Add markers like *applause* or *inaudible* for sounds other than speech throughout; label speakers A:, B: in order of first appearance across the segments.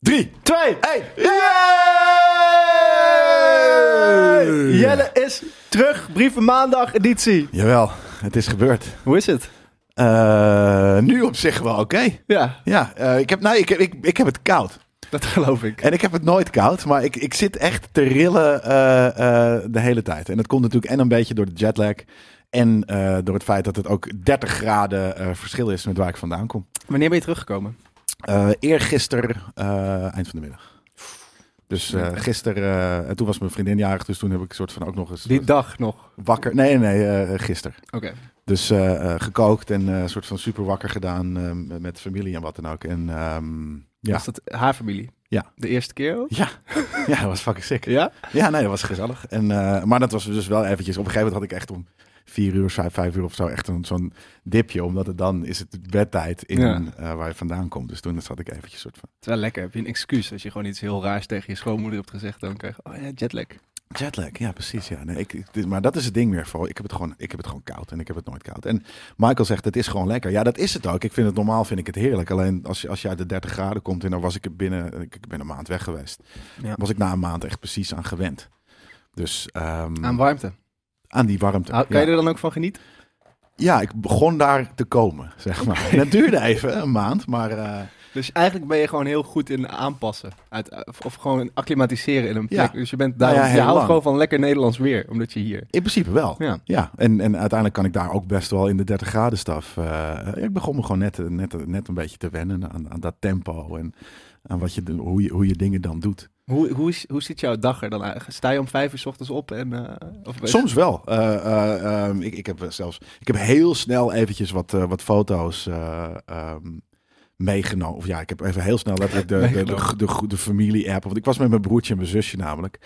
A: 3, 2, 1.
B: Jelle is terug, brieven maandag editie.
A: Jawel, het is gebeurd.
B: Hoe is het?
A: Eh, nu op zich wel oké.
B: Ja,
A: Ja, eh, ik, heb, nou, ik, ik, ik heb het koud.
B: dat geloof ik.
A: En ik heb het nooit koud, maar ik, ik zit echt te rillen eh, eh, de hele tijd. En dat komt natuurlijk en een beetje door de jetlag. En eh, door het feit dat het ook 30 graden eh, verschil is met waar ik vandaan kom.
B: Wanneer ben je teruggekomen?
A: Eh eergisteren, eh, eind van de middag. Dus eh gisteren, eh, en toen was mijn vriendin jarig, dus toen heb ik soort van ook nog eens
B: Die dag nog.
A: wakker. Nee, nee, nee, eh, gisteren.
B: Oké.
A: Dus eh, eh, gekookt en eh, soort van super wakker gedaan eh, met familie en wat dan ook. En ehm, ja.
B: Was dat haar familie?
A: Ja.
B: De eerste keer ook?
A: Ja. *laughs* ja, dat was fucking sick.
B: Ja?
A: Ja, nee, dat was gezellig. En, eh, maar dat was dus wel eventjes. Op een gegeven moment had ik echt om vier uur, vijf, vijf uur of zo echt een- zo'n dipje. Omdat het dan is het bedtijd in
B: Ja.
A: eh, waar je vandaan komt. Dus toen zat ik eventjes soort van
B: Het is wel lekker. Heb je een excuus als je gewoon iets heel raars tegen je schoonmoeder hebt gezegd. Dan krijg je, oh ja, jetlag.
A: jetlag. Ja, precies. Ja. Nee, ik, ik- dit- maar dat is het ding weer vooral. Ik heb, het gewoon, ik heb het gewoon koud en ik heb het nooit koud. En Michael zegt, het is gewoon lekker. Ja, dat is het ook. Ik vind het normaal, vind ik het heerlijk. Alleen als je, als je uit de 30 graden komt en dan was ik er binnen, ik, ik ben een maand weg geweest.
B: Ja.
A: Was ik na een maand echt precies aan gewend. Dus ehm,
B: Aan warmte.
A: aan die warmte.
B: Hou- Kan
A: ja.
B: je er dan ook van genieten?
A: Ja, ik begon daar te komen, zeg maar. En *laughs* dat duurde even, een maand, maar eh,
B: Dus eigenlijk ben je gewoon heel goed in aanpassen. Uit, of, of gewoon acclimatiseren in een
A: Ja.
B: plek. Dus je, bent daar,
A: Nou ja,
B: je
A: heel
B: houdt
A: lang.
B: gewoon van lekker Nederlands weer, omdat je hier...
A: in principe wel.
B: Ja.
A: en, en uiteindelijk kan ik daar ook best wel in de 30 graden staf. eh, ik begon me gewoon net, net, net een beetje te wennen aan, aan dat tempo en aan wat je, do- hoe, je, hoe je dingen dan doet.
B: Hoe, hoe, is, hoe ziet jouw dag er dan uit? Sta je om vijf uur 's ochtends op? En, eh, of
A: Soms wel. Eh, eh, ehm, ik, ik heb zelfs ik heb heel snel eventjes wat, eh, wat foto's eh, ehm, meegenomen. Of ja, ik heb even heel snel letterlijk de, de, de,
B: Meegenomen.
A: de, de familie-app. Want ik was met mijn broertje en mijn zusje namelijk.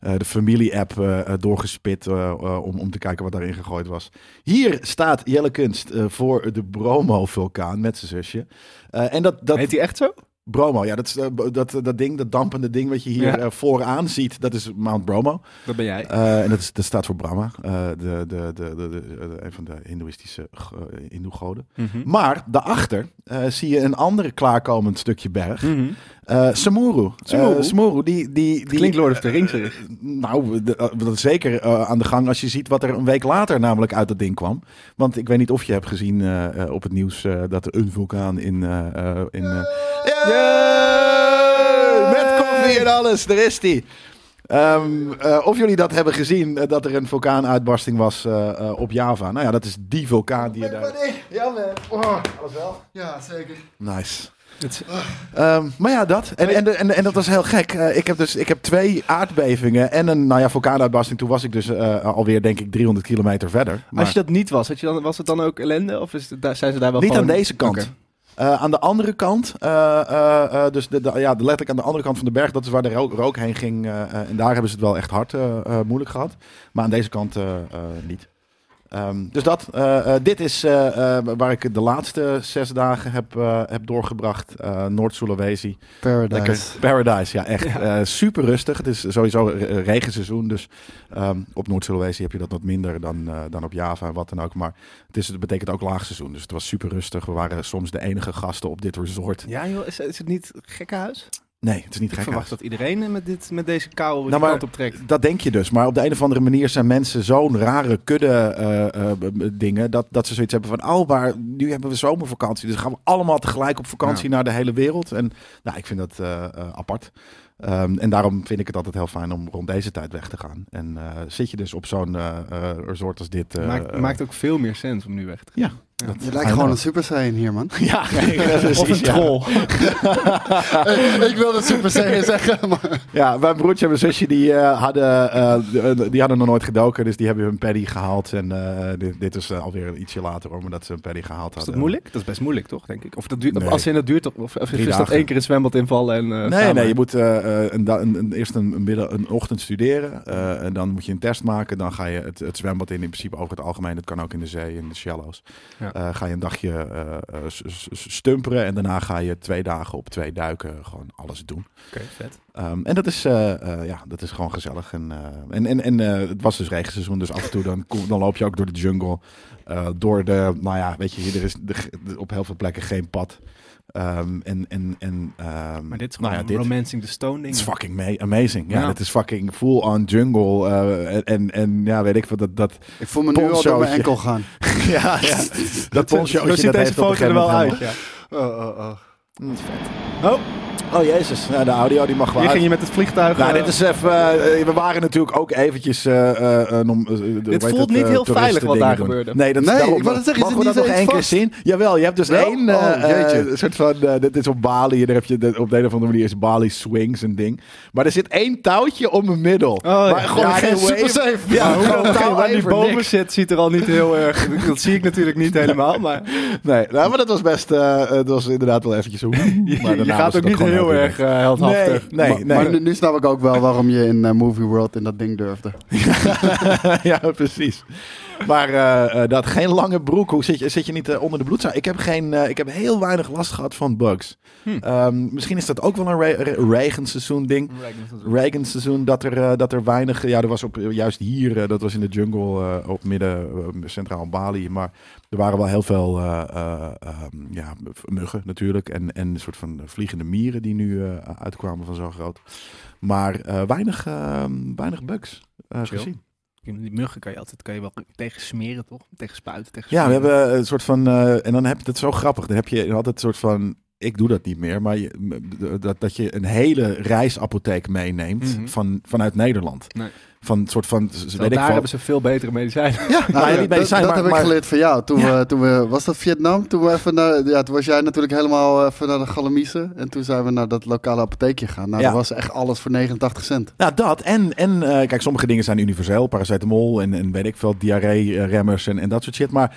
A: eh, de familie-app eh, eh, doorgespit eh, eh, om, om te kijken wat daarin gegooid was. Hier staat Jelle Kunst eh, voor de Bromo-vulkaan met zijn zusje. Eh, en dat, dat
B: Heet hij echt zo?
A: Bromo, ja, dat, is, eh, b- dat, dat ding, dat dampende ding wat je hier
B: Ja.
A: eh, vooraan ziet, dat is Mount Bromo.
B: Dat ben jij.
A: Eh, en dat, is, dat staat voor Brahma, eh, de, de, de, de, de- de- een van de hindoeïstische g- eh, hindoe-goden.
B: Mhm.
A: Maar daarachter eh, zie je een ander klaarkomend stukje berg.
B: Mm. Mhm.
A: Eh Samuru.
B: Samuru?
A: Eh, Samuru, die... die, die
B: Klinkt Lord of the Rings. weer.
A: nou, de- eh, dat is zeker eh, aan de gang als je ziet wat er een week later namelijk uit dat ding kwam. Want ik weet niet of je hebt gezien eh, eh, op het nieuws eh, dat er een vulkaan in... eh, eh, in eh, Yay! Met koffie en alles, er is die. Ehm, eh, of jullie dat hebben gezien, eh, dat er een vulkaanuitbarsting was eh, eh, op Java. Nou ja, dat is die vulkaan die je daar...
C: Ja, man. alles wel? Oh. Ja, zeker.
A: Nice.
B: Het is-
A: Ehm, maar ja, dat. En, en, en, en dat was heel gek. Eh, ik heb dus ik heb twee aardbevingen en een nou ja, vulkaanuitbarsting. Toen was ik dus eh, alweer, denk ik, 300 kilometer verder. Maar
B: Als je dat niet was, had je dan, was het dan ook ellende? Of is het, daar, zijn ze daar wel
A: niet aan
B: gewoon-
A: deze kant.
B: Oké.
A: Eh, aan de andere kant, eh, eh, eh, dus de, de- ja, de- letterlijk aan de andere kant van de berg, dat is waar de rook, rook heen ging. eh, eh, en daar hebben ze het wel echt hard eh, eh, moeilijk gehad. Maar aan deze kant eh, eh, niet. Ehm, dus dat, eh, eh, dit is eh, eh, waar ik de laatste zes dagen heb, eh, heb doorgebracht. eh Noord-Sulawesi. Lekker. Paradise, ja, echt. Eh, super rustig. Het is sowieso re- regenseizoen, dus ehm, op Noord-Sulawesi heb je dat wat minder dan, eh, dan op Java en wat dan ook. Maar het, is, het betekent ook laagseizoen, dus het was super rustig. We waren soms de enige gasten op dit resort.
B: Ja joh, is, is het niet gekkenhuis? huis?
A: Nee, het is niet
B: Ik
A: gek.
B: verwacht
A: huis.
B: dat iedereen eh, met, dit, met deze kou de
A: Nou, maar-
B: kant op trekt.
A: Dat denk je dus, maar op de een of andere manier zijn mensen zo'n rare kudde eh, eh, b- b- dingen dat, dat ze zoiets hebben van, oh, maar nu hebben we zomervakantie, dus gaan we allemaal tegelijk op vakantie naar de hele wereld. En nou, ik vind dat eh, eh, apart. Ehm, en daarom vind ik het altijd heel fijn om rond deze tijd weg te gaan. En eh, zit je dus op zo'n eh, eh, resort als dit. eh,
B: maakt,
A: eh,
B: maakt ook veel meer sens om nu weg te
A: ja,
B: Ja.
A: dat- *laughs*
C: Je lijkt gewoon een Super Saiyan hier, man.
A: Ja, precies,
B: *laughs* Of een
A: ja.
B: troll.
C: *laughs* ik wilde Super *laughs* Saiyan zeggen, maar...
A: Ja, mijn broertje en mijn zusje die, eh, hadden, eh, d- die hadden nog nooit gedoken. Dus die hebben hun paddy gehaald. En eh, dit, dit is eh, alweer ietsje later hoor, maar dat ze hun paddy gehaald
B: Is
A: hadden.
B: dat moeilijk? Dat is best moeilijk toch, denk ik? Of dat duurt,
A: Nee.
B: als je dat duurt, toch- of, of is dat
A: dagen.
B: één keer een zwembad invallen en... eh,
A: Nee,
B: gaan
A: nee,
B: we?
A: je moet eh, eh, een da- een- een- eerst een, een, middag, een ochtend studeren. eh, en dan moet je een test maken. Dan ga je het, het zwembad in, in principe over het algemeen. Dat kan ook in de zee, in de shallows.
B: Ja.
A: Eh, ga je een dagje eh, eh, s- s- s- stumperen. En daarna ga je twee dagen op twee duiken gewoon alles doen.
B: Oké, vet.
A: Ehm, en dat is, eh, eh, ja, dat is gewoon gezellig. En, eh, en, en, en eh, het was dus regenseizoen, dus af en toe dan, *laughs* kom- dan loop je ook door de jungle. eh, door de, nou ja, weet je, er is de- de- op heel veel plekken geen pad. Ehm, en, en, en, ehm,
B: Maar dit is
A: nou
B: gewoon
A: ja, dit-
B: Romancing the Stone ding.
A: het is fucking ma- amazing. Ja,
B: Ja.
A: dit is fucking full on jungle. eh, en, en, en ja, weet ik wat dat. *laughs* dat
C: Ik voel me nu al door mijn
A: Ponchootje.
C: enkel gaan.
A: ja,
B: *laughs*
A: ja, dat ponchootje.
B: Zo ziet
A: dat
B: deze
A: heeft op een
B: foto er
A: gegeven
B: wel
A: moment
B: uit. Ja.
C: *laughs* Oh, oh, oh.
A: helemaal- Oh, oh jezus. Nou, de audio die mag wel uit.
B: Hier ging je met het vliegtuig.
A: Nou,
B: eh,
A: dit is even. eh, we waren natuurlijk ook eventjes. eh, eh, eh, om, eh, de- hoe heet
B: voelt
A: het,
B: niet
A: eh,
B: heel
A: toeristen
B: veilig wat
A: dingen
B: daar
A: doen.
B: gebeurde.
A: Nee, dat is
C: Nee,
A: daarom-
C: ik wou net zeggen, is
A: Mogen we
C: het
A: dat
C: niet
A: nog
C: eens
A: één keer
C: vast?
A: zien? Jawel, je hebt dus
C: Wel?
A: één. eh,
C: Oh, jeetje.
A: eh, een soort van. eh, dit is op Bali. Hier heb je de- op de een of andere manier is Bali swings een ding. Maar er zit één touwtje om mijn middel.
B: Oh, ja.
A: Maar gewoon
C: Ja,
A: geen
C: geen
A: wave.
C: super safe.
A: Ja,
B: Maar hoe
A: gewoon
B: dat touw aan
A: touw
B: die
A: over
B: bomen
A: niks.
B: zit, ziet er al niet heel erg. *laughs* Dat zie ik natuurlijk niet helemaal,
A: *laughs*
B: maar
A: Nee, nou, maar dat was best. eh, eh, dat was inderdaad wel eventjes.
B: *laughs*
A: hoe-
B: je,
A: Maar
B: je
A: daarna was
B: gaat ook
A: het
B: niet
A: gewoon
B: heel erg
A: relaxed.
B: eh heldhaftig.
A: Nee, nee,
C: maar
A: nee.
C: maar nu, nu snap ik ook wel waarom je in eh, Movie World in dat ding
A: *laughs*
C: durfde.
A: ja, precies. Maar eh, eh, dat geen lange broek. Hoe zit je, zit je niet eh, onder de bloedzaal? Ik heb, geen, eh, ik heb heel weinig last gehad van bugs.
B: Hm.
A: Ehm, misschien is dat ook wel een re- re- regenseizoen ding. Regenseizoen dat er, eh, dat er weinig. Ja, er was op, juist hier, eh, dat was in de jungle eh, op midden eh, centraal Bali. Maar er waren wel heel veel eh, eh, ehm, ja, muggen natuurlijk. En, en een soort van vliegende mieren die nu eh, uitkwamen van zo groot. Maar eh, weinig, ehm, weinig bugs eh,
B: Chill.
A: gezien.
B: Die muggen kan je altijd kan je wel tegen smeren, toch? Tegen spuiten, tegen
A: Ja, we hebben een soort van. eh, en dan heb je dat is zo grappig. Dan heb je altijd een soort van. Ik doe dat niet meer, maar je, m- dat, dat je een hele reisapotheek meeneemt
B: Mhm.
A: van, vanuit Nederland.
B: Nee.
A: Van een soort van. z- Weet ik
B: daar
A: veel.
B: hebben ze veel betere medicijnen.
A: Ja, nou,
C: ja,
A: niet bij
C: dat,
A: zijn,
C: dat
A: maar,
C: heb
A: maar-
C: ik geleerd van jou. Toen we, toen we, was dat Vietnam? Toen, we even naar, ja, toen was jij natuurlijk helemaal even naar de Galamiezen. En toen zijn we naar dat lokale apotheekje gegaan. Nou,
A: Ja.
C: dat was echt alles voor 89 cent.
A: Nou, dat. En, en eh, kijk, sommige dingen zijn universeel. Paracetamol en, en weet ik veel, diarree-remmers en, en dat soort shit. Maar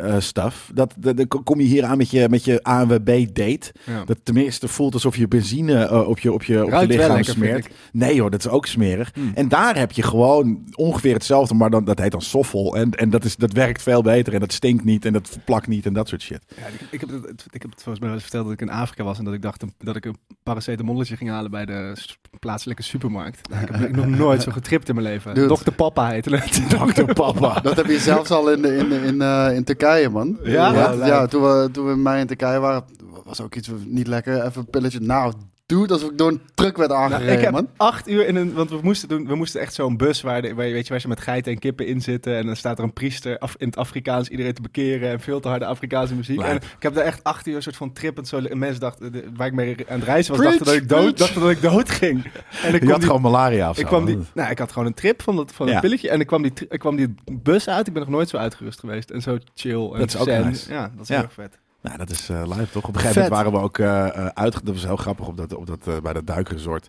A: muggen-stuff, dat, dat, dat kom je hier aan met je, met je ANWB-date.
B: Ja.
A: Dat tenminste voelt alsof je benzine eh, op je, op je, op je
B: Ruikt wel
A: lichaam
B: lekker, vind
A: smeert. Hmm. Nee hoor, dat is ook smerig. En daar heb je gewoon ongeveer hetzelfde, maar dan, dat heet dan soffel. En, en dat, is, dat werkt veel beter en dat stinkt niet en dat plakt niet en dat soort shit.
B: Ja, ik, ik heb het, ik heb het volgens mij wel eens verteld dat ik in Afrika was en dat ik dacht een- dat ik een paracetamolletje ging halen bij de s- plaatselijke supermarkt. Nou, ik heb ik nog nooit zo getript in mijn leven.
C: Dude.
B: Dokter Papa heette
C: *laughs*
B: het.
A: Dokter *laughs* papa.
C: Dat heb je zelfs al in, de- in, de- in, eh, in Turkije, man.
B: Ja?
C: ja,
A: Ja,
C: ja, toen, we, toen we in mei in Turkije waren, was ook iets niet lekker. Even een pilletje. Nou, dude, alsof ik door een truck werd
B: Nou,
C: aangereden,
B: ik heb
C: man.
B: acht uur in een. Want we moesten, doen, we moesten echt zo'n bus waar, de, waar, je- weet je, waar ze met geiten en kippen in zitten. En dan staat er een priester af, in het Afrikaans iedereen te bekeren. En veel te harde Afrikaanse muziek.
A: Lijp.
B: En ik heb daar echt acht uur een soort van trippend. Zo, en mensen dachten, de- waar ik mee aan het reizen was,
C: Preach,
B: dachten dat ik dood,
C: preach.
B: dachten dat ik dood ging. En ik
A: Je
B: kwam
A: had
B: die,
A: gewoon malaria of zo.
B: ik, kwam die, nou, ik had gewoon een trip van dat van
A: Ja.
B: het pilletje. En ik kwam, die, tri- ik kwam die bus uit. Ik ben nog nooit zo uitgerust geweest. En zo chill. En
A: Dat is ook
B: zen.
A: nice.
B: Ja, dat is
A: Ja.
B: heel erg vet.
A: Nou, dat is eh live toch? Op een gegeven moment waren
B: Vet.
A: we ook eh eh, uit. Dat was heel grappig op dat, op dat, eh, bij dat duikresort.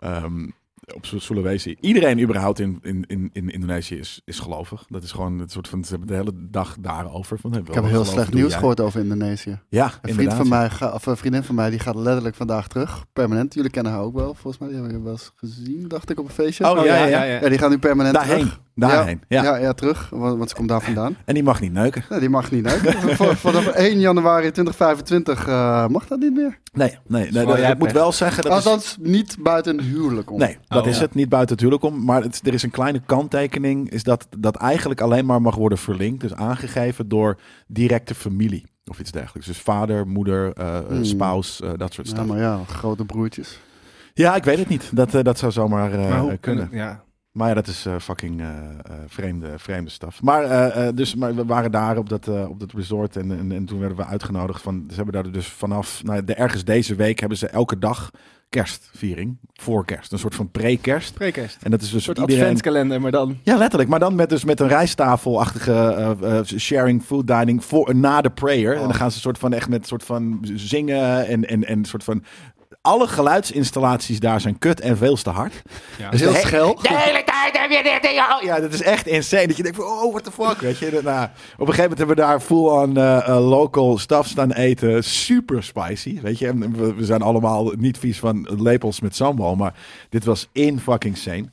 A: Ehm, op Su- Sulawesi. Iedereen überhaupt in, in, in, in Indonesië is, is gelovig. Dat is gewoon het soort van. Ze hebben de hele dag daarover. Van,
C: Ik heb heel slecht nieuws
A: gehoord.
C: gehoord over Indonesië.
A: Ja,
C: Een, vriend
A: inderdaad.
C: van mij, ga- of een vriendin van mij die gaat letterlijk vandaag terug. Permanent. Jullie kennen haar ook wel, volgens mij. Die hebben we wel eens gezien, dacht ik, op een feestje.
A: Oh, ja, ja, ja.
C: Ja, die gaan nu permanent
A: Daarheen.
C: terug.
A: Daarheen. Ja.
C: Ja. Ja, terug, want, want ze komt daar vandaan. *laughs*
A: En die mag niet neuken.
C: Nee, die mag niet *laughs* uit. V- Vanaf 1 januari 2025 eh, mag dat niet meer.
A: Nee, nee. nee
B: wel
A: dat,
B: Oh, jij
A: ik moet
B: pech.
A: wel zeggen. Dat is,
C: Althans, niet buiten een huwelijk om.
A: Nee, dat
B: Oh,
A: is
B: ja.
A: het. Niet buiten het huwelijk om. Maar het, er is een kleine kanttekening. Is dat dat eigenlijk alleen maar mag worden verlinkt. Dus aangegeven door directe familie. Of iets dergelijks. Dus vader, moeder, eh, eh,
C: Hmm.
A: spouse, eh, dat soort
C: Ja,
A: stuff.
C: maar ja, grote broertjes.
A: Ja, ik weet het niet. Dat, eh, dat zou zomaar eh,
B: maar
A: eh,
B: hoe
A: kunnen.
B: kunnen. Ja.
A: Maar ja, dat is eh, fucking eh, eh, vreemde, vreemde staf. Maar, eh, eh, dus, maar we waren daar op dat, eh, op dat resort en, en, en toen werden we uitgenodigd. Van, ze hebben daar dus vanaf, nou, ja, de, ergens deze week hebben ze elke dag kerstviering. Voor kerst, een soort van pre-kerst.
B: Spreekers.
A: En dat is dus
B: Een soort
A: iedereen...
B: adventskalender, maar dan.
A: Ja, letterlijk. Maar dan met, dus met een rijsttafelachtige eh, eh, sharing, food dining voor, na de prayer.
B: Oh.
A: En dan gaan ze soort van echt met soort van zingen en, en, en soort van... Alle geluidsinstallaties daar zijn kut en veel te hard.
B: Ja.
A: Dus
C: Heel
A: de he-
C: schel.
A: de hele tijd heb je dit ding. al. Ja, dat is echt insane. Dat je denkt van, oh, what the fuck. Weet je, dat- nou, op een gegeven moment hebben we daar full on eh, eh, local stuff staan eten. Super spicy, weet je. En we, we zijn allemaal niet vies van lepels met sambal. Maar dit was in fucking sane.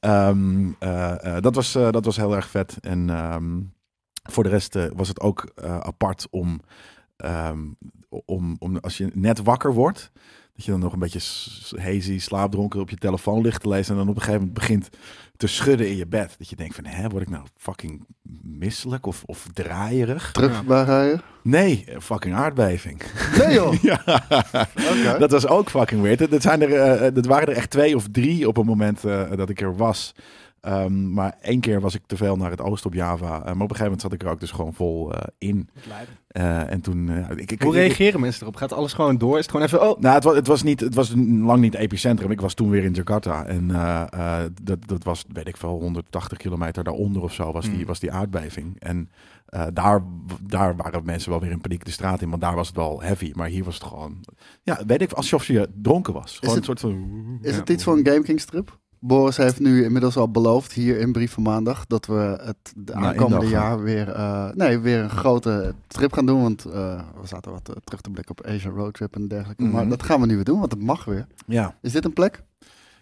A: Ehm, eh, eh, dat, was, eh, dat was heel erg vet. En ehm, voor de rest eh, was het ook eh, apart om, ehm, om, om, als je net wakker wordt... Dat je dan nog een beetje s- s- hazy, slaapdronken op je telefoon ligt te lezen. En dan op een gegeven moment begint te schudden in je bed. Dat je denkt van, hè, word ik nou fucking misselijk of, of draaierig?
C: Terug
B: Ja.
C: waar rijden?
A: Nee, eh, fucking aardbeving. *laughs*
C: Nee joh!
A: ja.
C: *laughs* Oké.
A: Dat was ook fucking weird. Dat- Dat, zijn er, eh, eh, dat waren er echt twee of drie op het moment eh, dat ik er was. Ehm, maar één keer was ik te veel naar het oosten op Java. Eh, maar op een gegeven moment zat ik er ook dus gewoon vol eh, in. Eh, en toen... eh, ik, ik,
B: Hoe
A: ik-
B: reageren mensen erop? Gaat alles gewoon door? Is het gewoon even, oh,
A: Nou, het was, het was, niet, het was n- lang niet epicentrum. Ik was toen weer in Jakarta. En eh, eh, dat, dat was, weet ik veel, 180 kilometer daaronder of zo was die,
B: Mm.
A: was die aardbeving. En eh, daar, daar waren mensen wel weer in paniek de straat in. Want daar was het wel heavy. Maar hier was het gewoon... Ja, weet ik, alsof je dronken was. Gewoon
C: het-
A: een soort van...
C: Is
B: Ja.
C: het iets voor een Game King strip? Boris heeft nu inmiddels al beloofd hier in Brief van Maandag dat we het de
A: Nou,
C: aankomende
A: indag, ja.
C: jaar weer, eh, nee, weer een grote trip gaan doen. Want eh, we zaten wat eh, terug te blikken op Asia Road Trip en dergelijke. Maar
A: Mhm.
C: dat gaan we nu weer doen, want het mag weer.
A: Ja.
C: Is dit een plek?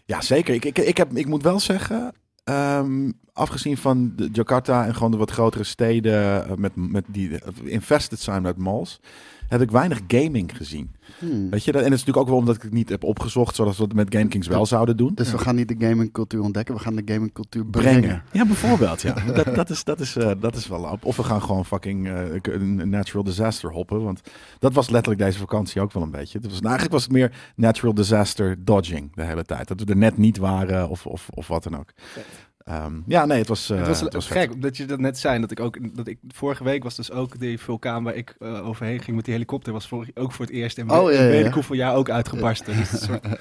A: Ja, zeker. Ik, ik, ik, heb, ik moet wel zeggen, ehm, afgezien van de Jakarta en gewoon de wat grotere steden eh, met, met die eh, invested zijn met malls, heb ik weinig gaming gezien.
C: Hmm.
A: Weet je, dat- en dat is natuurlijk ook wel omdat ik het niet heb opgezocht, zoals we het met GameKings wel zouden doen.
C: Dus we gaan niet de gamingcultuur ontdekken, we gaan de gamingcultuur brengen.
A: Brengen. Ja, bijvoorbeeld. Ja. *laughs* dat, dat, is, dat, is, eh, dat is wel op. Of we gaan gewoon fucking eh, een natural disaster hoppen. Want dat was letterlijk deze vakantie ook wel een beetje. Het was, nou, eigenlijk was het meer natural disaster dodging de hele tijd. Dat we er net niet waren of, of, of wat dan ook.
B: Vet.
A: Ehm, ja, nee, het was, eh,
B: het was,
A: vet.
B: gek omdat je dat net zei. Dat ik ook, dat ik, vorige week was dus ook die vulkaan waar ik eh, overheen ging met die helikopter. Was vorig, ook voor het eerst. En
C: Oh, ja, ja, ja.
B: weet ik hoeveel jaar ook
A: *laughs*
B: uitgebarsten. Dus het is een soort-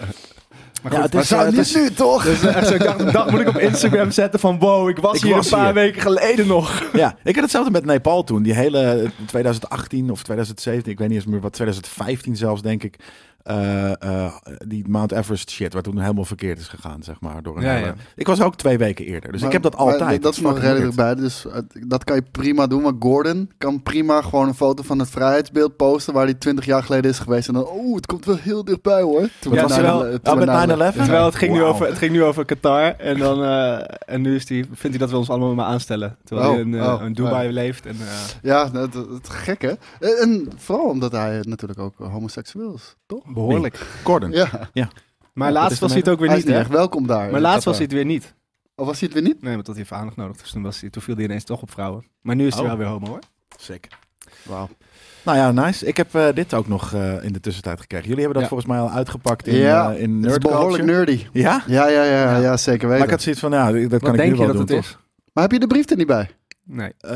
B: Maar
A: Ja,
B: goed,
A: het is
C: Maar
A: zo-
C: niet
A: het is-
C: nu toch?
B: dus echt zo, ik dacht, een dag moet ik op Instagram zetten van wow, ik was
A: Ik
B: hier
A: was
B: een paar
A: hier.
B: weken geleden nog.
A: Ja, ik had hetzelfde met Nepal toen. Die hele 2018 of 2017, ik weet niet eens meer wat, 2015 zelfs denk ik. eh, eh, die Mount Everest shit, waar toen helemaal verkeerd is gegaan, zeg maar. Door een
B: Ja,
A: hele-
B: ja.
A: Ik was ook twee weken eerder, dus
C: Maar-
A: ik heb dat
C: maar
A: altijd.
C: Dat is nog
A: fucking
C: redelijk
A: weird.
C: bij. Dus eh, dat kan je prima doen. Maar Gordon kan prima gewoon een foto van het vrijheidsbeeld posten. waar hij 20 jaar geleden is geweest. En dan, oeh, het komt wel heel dichtbij hoor. Toen
A: Wat
C: we
A: was er
C: 9-11
A: wel?
C: toen
A: Oh,
C: we
A: met
C: 9-11.
A: 9-11?
B: Terwijl Dus het ging, nu
A: Wauw.
B: over, het ging nu over Qatar. En, dan, eh, en nu is die, vindt hij dat we ons allemaal maar aanstellen. Terwijl
C: Oh,
B: hij in, eh,
C: oh,
B: in Dubai leeft. En, eh,
C: Ja, dat, dat, dat gek hè. En, en vooral omdat hij natuurlijk ook homoseksueel is, toch?
B: behoorlijk.
A: Gordon.
C: Ja,
B: Maar
A: Ja, dat
B: laatst
A: is
B: was hij het ook weer
C: hij is
B: niet.
C: niet
B: hè?
C: echt welkom daar.
B: Maar laatst was hij het weer niet.
C: Of was hij het weer niet?
B: Nee, want dat heeft aandacht nodig. Dus toen, was hij, toen viel hij ineens toch op vrouwen. Maar nu is hij
A: Oh.
B: wel weer homo hoor.
A: Sick.
C: Wauw.
A: Nou ja, nice. Ik heb eh, dit ook nog eh, in de tussentijd gekregen. Jullie hebben dat
B: Ja.
A: volgens mij al uitgepakt in,
C: Ja,
A: eh, in
C: Het is
A: Nerd
C: behoorlijk
A: Culture.
C: nerdy.
A: Ja?
C: Ja, ja, ja, ja,
B: Ja.
C: ja, zeker
A: Maar
C: weten.
A: ik had zoiets van, ja, dat kan
B: Wat
A: ik nu
B: denk je
A: wel
B: dat
A: doen,
B: het
A: toch?
B: is?
C: Maar heb je de brief er niet bij?
B: Nee.
A: Eh,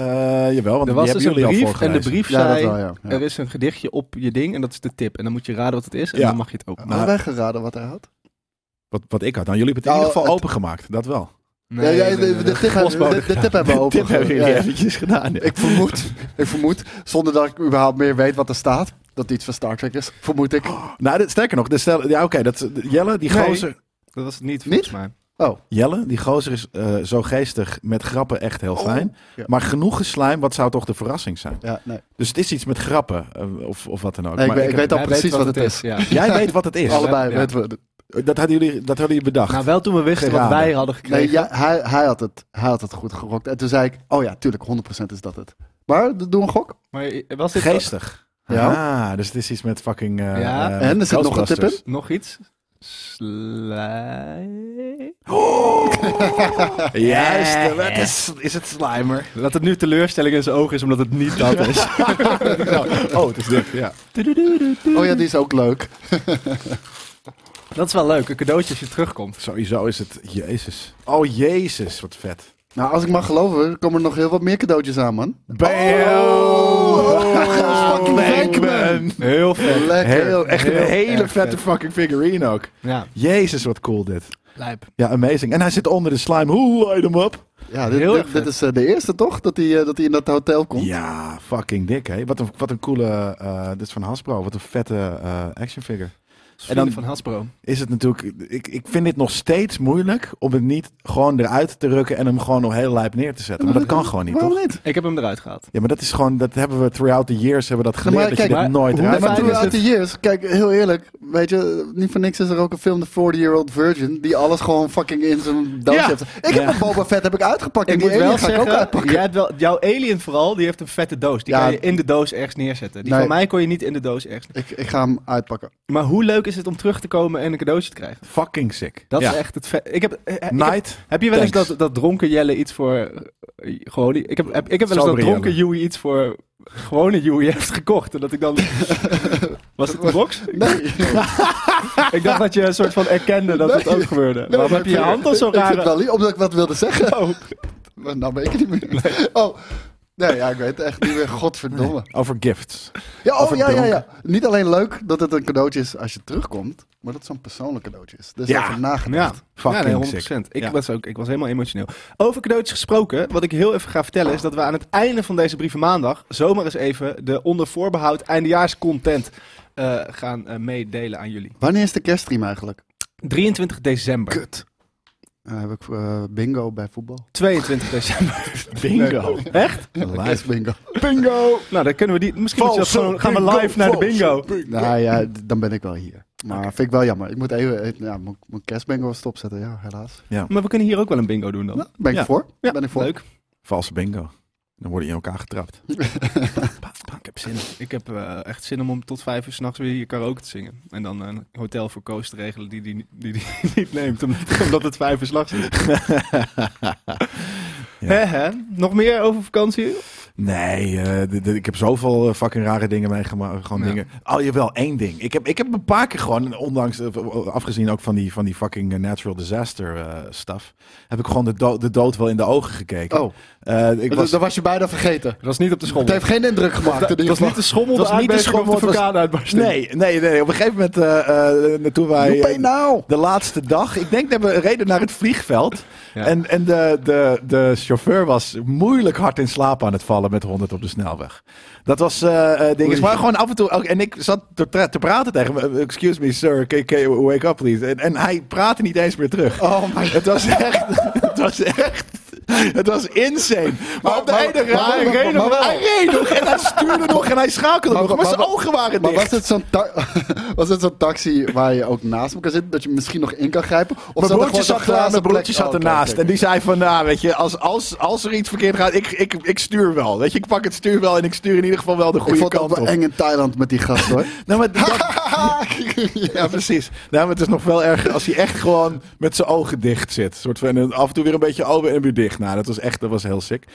A: jawel, want
B: Er was
A: die
B: dus een
A: hebben jullie al
B: brief en de
A: voorgelezen.
B: brief
C: Ja, dat
B: zei...
C: wel, ja. ja.
B: Er is een gedichtje op je ding en dat is de tip. En dan moet je raden wat het is en
A: Ja.
B: dan mag je het openen.
A: maar-
C: Hadden wij geraden wat hij had?
A: Wat, wat ik had. Nou, jullie hebben het in
C: Nou,
A: ieder geval
C: het-
A: opengemaakt, dat wel.
C: Ja, ja, de, de, tip hebben-
B: postbode.
C: de- de tip hebben we open.
A: Dit hebben *laughs* jullie
C: Ja, ja.
A: eventjes gedaan.
C: Ik vermoed, ik vermoed, zonder dat ik überhaupt meer weet wat er staat, dat het iets van Star Trek is. Vermoed ik.
A: Nou, dit, sterker nog, de stel, ja, oké, dat Jelle, die
B: Nee.
A: gozer...
B: Dat was het niet, volgens
C: Niet?
B: mij.
A: Jelle, die gozer is eh, zo geestig met grappen echt heel fijn.
C: ja.
A: Maar genoeg geslijm, wat zou toch de verrassing zijn?
C: Ja, nee.
A: Dus het is iets met grappen eh, of, of wat dan ook.
C: Nee, ik,
A: Maar
C: weet, ik
A: ik
C: weet al
B: Hij
C: precies wat, het is.
B: Ja.
A: heb- Jij weet wat
C: *laughs*
A: het is.
B: Alle-
C: Allebei
B: Ja.
C: weten we. het.
A: Dat hadden jullie, dat hadden jullie bedacht.
B: Nou, wel toen we wisten wat
A: Geraden.
B: wij hadden
C: Nee,
B: gekregen.
C: ja, hij, hij, had het, hij had het goed gerokt. En toen zei ik, oh ja, tuurlijk, 100% is dat het. Maar, d- doe een gok.
B: Maar was dit
A: geestig.
C: Ja.
A: Ja. dus het is iets met fucking... eh,
B: Ja.
A: eh,
C: En, er zit nog een tip in?
A: Ghostbusters.
B: nog iets?
C: *laughs*
B: Slij...
A: Oh, juist, dat is, is het slimer.
B: Dat het nu teleurstelling in zijn ogen is omdat het niet
C: *laughs*
B: dat is.
A: oh, het is dit, ja.
C: Oh ja, die is ook leuk.
B: Dat is wel leuk, een cadeautje als je
C: Oh!
B: terugkomt.
A: Sowieso is het... Jezus. Oh, jezus, wat vet.
C: Nou, als ik mag geloven, komen er nog heel wat meer cadeautjes aan, man.
A: Bam!
B: *laughs*
C: Oh, fucking Pac-Man.
B: Heel vet.
C: Lekker.
A: Heel, echt een
B: Heel
A: hele
B: erg
A: vette
B: vet.
A: fucking figurine ook.
B: Ja,
A: Jezus, wat cool dit.
B: lijp.
A: Ja, amazing. En hij zit onder de slime. Hoe light hem op?
C: Ja, dit,
B: Heel
C: dit-
B: erg
C: dit
B: vet.
C: is eh, de eerste, toch? Dat hij eh, dat hij in dat hotel komt.
A: Ja, fucking dik, hè? Wat een, wat een coole... eh, dit is van Hasbro. Wat een vette eh, action figure.
B: En dan van Hasbro.
A: Is het natuurlijk... Ik, ik vind dit nog steeds moeilijk om het niet gewoon eruit te rukken en hem gewoon nog heel lijp neer te zetten. Maar dat kan gewoon niet,
C: Waarom
A: toch?
C: niet?
B: Ik heb hem eruit gehaald.
A: Ja, maar dat is gewoon... Dat hebben we throughout the years hebben we dat geleerd.
C: maar
A: dat je dit
C: kijk,
B: maar
A: nooit
B: hoe
A: eruit
C: Nee, maar
B: fijn
A: kan
B: is
C: throughout
A: rukken.
B: het?
C: the years, kijk, heel eerlijk, weet je, niet voor niks is er ook een film, The 40-Year-Old Virgin, die alles gewoon fucking in zijn doos
A: Ja.
C: heeft. Ik heb
A: Ja.
C: een Boba Fett heb ik uitgepakt en
B: Ik
C: die
B: moet
C: alien
B: wel
C: ga ik ook
B: zeggen,
C: uitpakken.
B: jij hebt wel, jouw alien vooral, die heeft een vette doos. Die
C: Ja.
B: kan je in de doos ergens neerzetten. Die
C: Nee.
B: van mij kon je niet in de doos ergens *laughs*
C: Ik, ik ga hem uitpakken.
B: Maar hoe leuk leuk is het om terug te komen en een cadeautje te krijgen?
A: Fucking sick.
B: Dat
A: ja.
B: is echt het vet. Ik heb, eh, eh, ik heb,
A: Night.
B: heb je wel eens
A: thanks.
B: dat, dat dronken Jelle iets voor eh, gewoon... Ik heb, heb- ik heb wel eens dat
A: Sober
B: dronken
A: Jelle.
B: Joey iets voor gewone Joey heeft gekocht. En dat ik
C: *laughs*
B: dan... Was het een box?
C: Nee,
B: Ik dacht dat je een soort van erkende dat het
C: Nee.
B: ook gebeurde. Waarom heb je je hand al zo
C: Ik vind het
B: raar?
C: wel lief, omdat ik wat wilde zeggen.
B: Oh.
C: Maar nou ben ik het niet meer. Oh, nee, ja, ik weet het echt niet meer. Godverdomme.
A: Over gifts.
C: Ja, oh,
A: Over
C: ja, ja, ja.
A: dronken.
C: Niet alleen leuk dat het een cadeautje is als je terugkomt, maar dat het zo'n persoonlijk cadeautje is. Dus
A: Ja.
C: even nagedacht.
B: Ja,
A: Fucking
B: ja nee, 100%.
A: sick.
B: Ik,
A: Ja.
B: was ook, ik was helemaal emotioneel. Over cadeautjes gesproken, wat ik heel even ga vertellen... is dat we aan het einde van deze brieven maandag... zomaar eens even de onder voorbehoud eindejaarscontent... eh, gaan eh, meedelen aan jullie.
C: Wanneer is de kerststream eigenlijk?
B: 23 december.
C: Kut. Dan heb ik eh, bingo bij voetbal.
B: 22 december.
A: *laughs* Bingo.
B: Echt?
A: *laughs* Live.
C: Kerstbingo.
B: Bingo! Nou, dan kunnen we die... Misschien moet je dat
A: Valse
B: gewoon, gaan we
A: bingo,
B: live naar de bingo.
A: valse bingo.
C: Nou ja, d- dan ben ik wel hier. Maar vind ik wel jammer. Ik moet even, eh, ja, moet ik mijn kerstbingo stopzetten. Ja, helaas.
B: Maar we kunnen hier ook wel een bingo doen dan.
C: Nou, ben ik
A: Ja.
C: voor?
B: Ja,
C: ben ik voor?
B: leuk.
A: Valse bingo. Dan worden je in elkaar getrapt.
B: *laughs* Pa, pa, ik heb zin. Ik heb eh, echt zin om om tot vijf uur s'nachts weer hier karaoke te zingen. En dan een hotel voor Koos te regelen die die, die, die *laughs* niet neemt, omdat, *laughs* omdat het vijf uur s'nachts is. *laughs* Hè, hè? Nog meer over vakantie?
A: Nee, eh, d- d- ik heb zoveel eh, fucking rare dingen meegemaakt. Gewoon
B: Ja.
A: dingen. Oh, jawel, één ding. Ik heb, ik heb een paar keer gewoon, ondanks, eh, afgezien ook van die, van die fucking eh, natural disaster eh, stuff, heb ik gewoon de, dood de dood wel in de ogen gekeken.
C: Oh,
A: Eh, ik
C: dat
A: was,
C: dat was je bijna vergeten.
B: Dat was niet op de
C: Het
B: schommel.
C: heeft geen indruk gemaakt. in
B: Dat
C: ieder
B: was niet
C: geval.
B: de schommel,
A: Het was niet de schommel,
B: of
A: het
B: de
A: was-
B: vulkaan uitbarsting.
A: nee, nee, nee. Op een gegeven moment, eh, eh, toen wij...
C: Joepie nou!
A: de laatste dag. Ik denk dat we reden naar het vliegveld.
B: Ja.
A: En, en de, de, de chauffeur was moeilijk hard in slaap aan het vallen met 100 op de snelweg. Dat was eh eh, ding.
C: Oei.
A: Maar gewoon af en toe. ook- en ik zat te, tra- te praten tegen hem. Excuse me, sir. Can, can you wake up, please. En, en hij praatte niet eens meer terug.
C: Oh my
A: Het was echt. Het was echt. Het was insane. Maar,
C: Maar-
A: op de
C: maar-
A: ene
C: maar-
A: hij
C: maar-
A: reed nog.
C: maar-
A: Hij reed nog. En hij stuurde nog. En hij schakelde nog.
C: Maar-
A: Maar
C: maar-
A: zijn
C: maar-
A: ogen waren
C: *laughs* Maar
A: dicht.
C: was het zo'n ta- *laughs* was het zo'n taxi waar je ook naast elkaar zit, dat je misschien nog in kan grijpen? Of
A: Mijn
C: er
A: broertje
C: gewoon zo'n
A: zat, eh,
C: glazen
A: mijn broertje
C: plek-
A: zat
C: Oh, oké,
A: ernaast.
C: oké.
A: En die zei van, nou weet je, als, als, als er iets verkeerd gaat, ik, ik, ik stuur wel. Weet je, ik pak het stuur wel en ik stuur in ieder geval wel de
C: Ik
A: goede
C: vond het
A: kant
C: ook wel
A: op.
C: eng in Thailand met die
A: *laughs*
C: gast hoor.
A: Nou, maar
C: *laughs*
A: dat- ja, precies. Nou, maar het is nog wel erger als hij echt gewoon met zijn ogen dicht zit. Soort van, en af en toe weer een beetje open en weer dicht. Nou, dat was echt, dat was heel sick.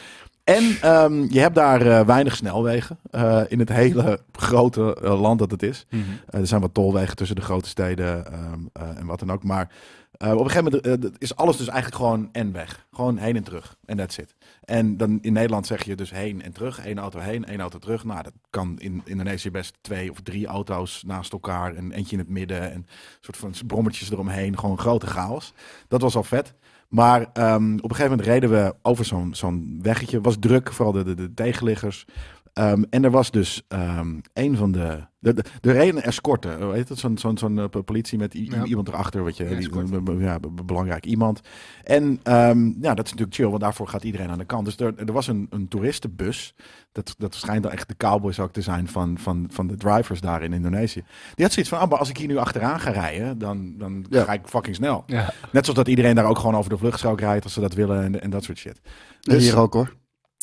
A: En ehm, je hebt daar eh, weinig snelwegen eh, in het hele grote eh, land dat het is.
B: Mhm.
A: Eh, er zijn wat tolwegen tussen de grote steden ehm, eh, en wat dan ook. Maar eh, op een gegeven moment eh, dat is alles dus eigenlijk gewoon en weg. Gewoon heen en terug. En that's it. En dan in Nederland zeg je dus heen en terug. één auto heen, één auto terug. Nou, dat kan in Indonesië best twee of drie auto's naast elkaar. En eentje in het midden. En een soort van brommetjes eromheen. Gewoon grote chaos. Dat was al vet. Maar ehm, op een gegeven moment reden we over zo'n zo'n weggetje. Was druk, vooral de, de, de tegenliggers. Ehm, en er was dus ehm, een van de. de- de- Er reden een escorte. eh, Weet het? Zo'n zo'n zo'n, eh, politie met i-
B: Ja.
A: iemand erachter. Wat je,
B: Ja,
A: die-
B: escorte.
A: be- be- ja, be- be- belangrijk iemand. En ehm, ja, dat is natuurlijk chill, want daarvoor gaat iedereen aan de kant. Dus er, er was een, een toeristenbus. Dat, dat schijnt dan echt de cowboys ook te zijn van, van, van de drivers daar in Indonesië. Die had zoiets van: ah, maar als ik hier nu achteraan ga rijden, dan, dan
C: Ja.
A: ga ik fucking snel.
B: Ja.
A: Net zoals dat iedereen daar ook gewoon over de vluchtstrook rijdt als ze dat willen en, en dat soort shit. Dus-
C: Hier
A: *laughs*
C: ook hoor.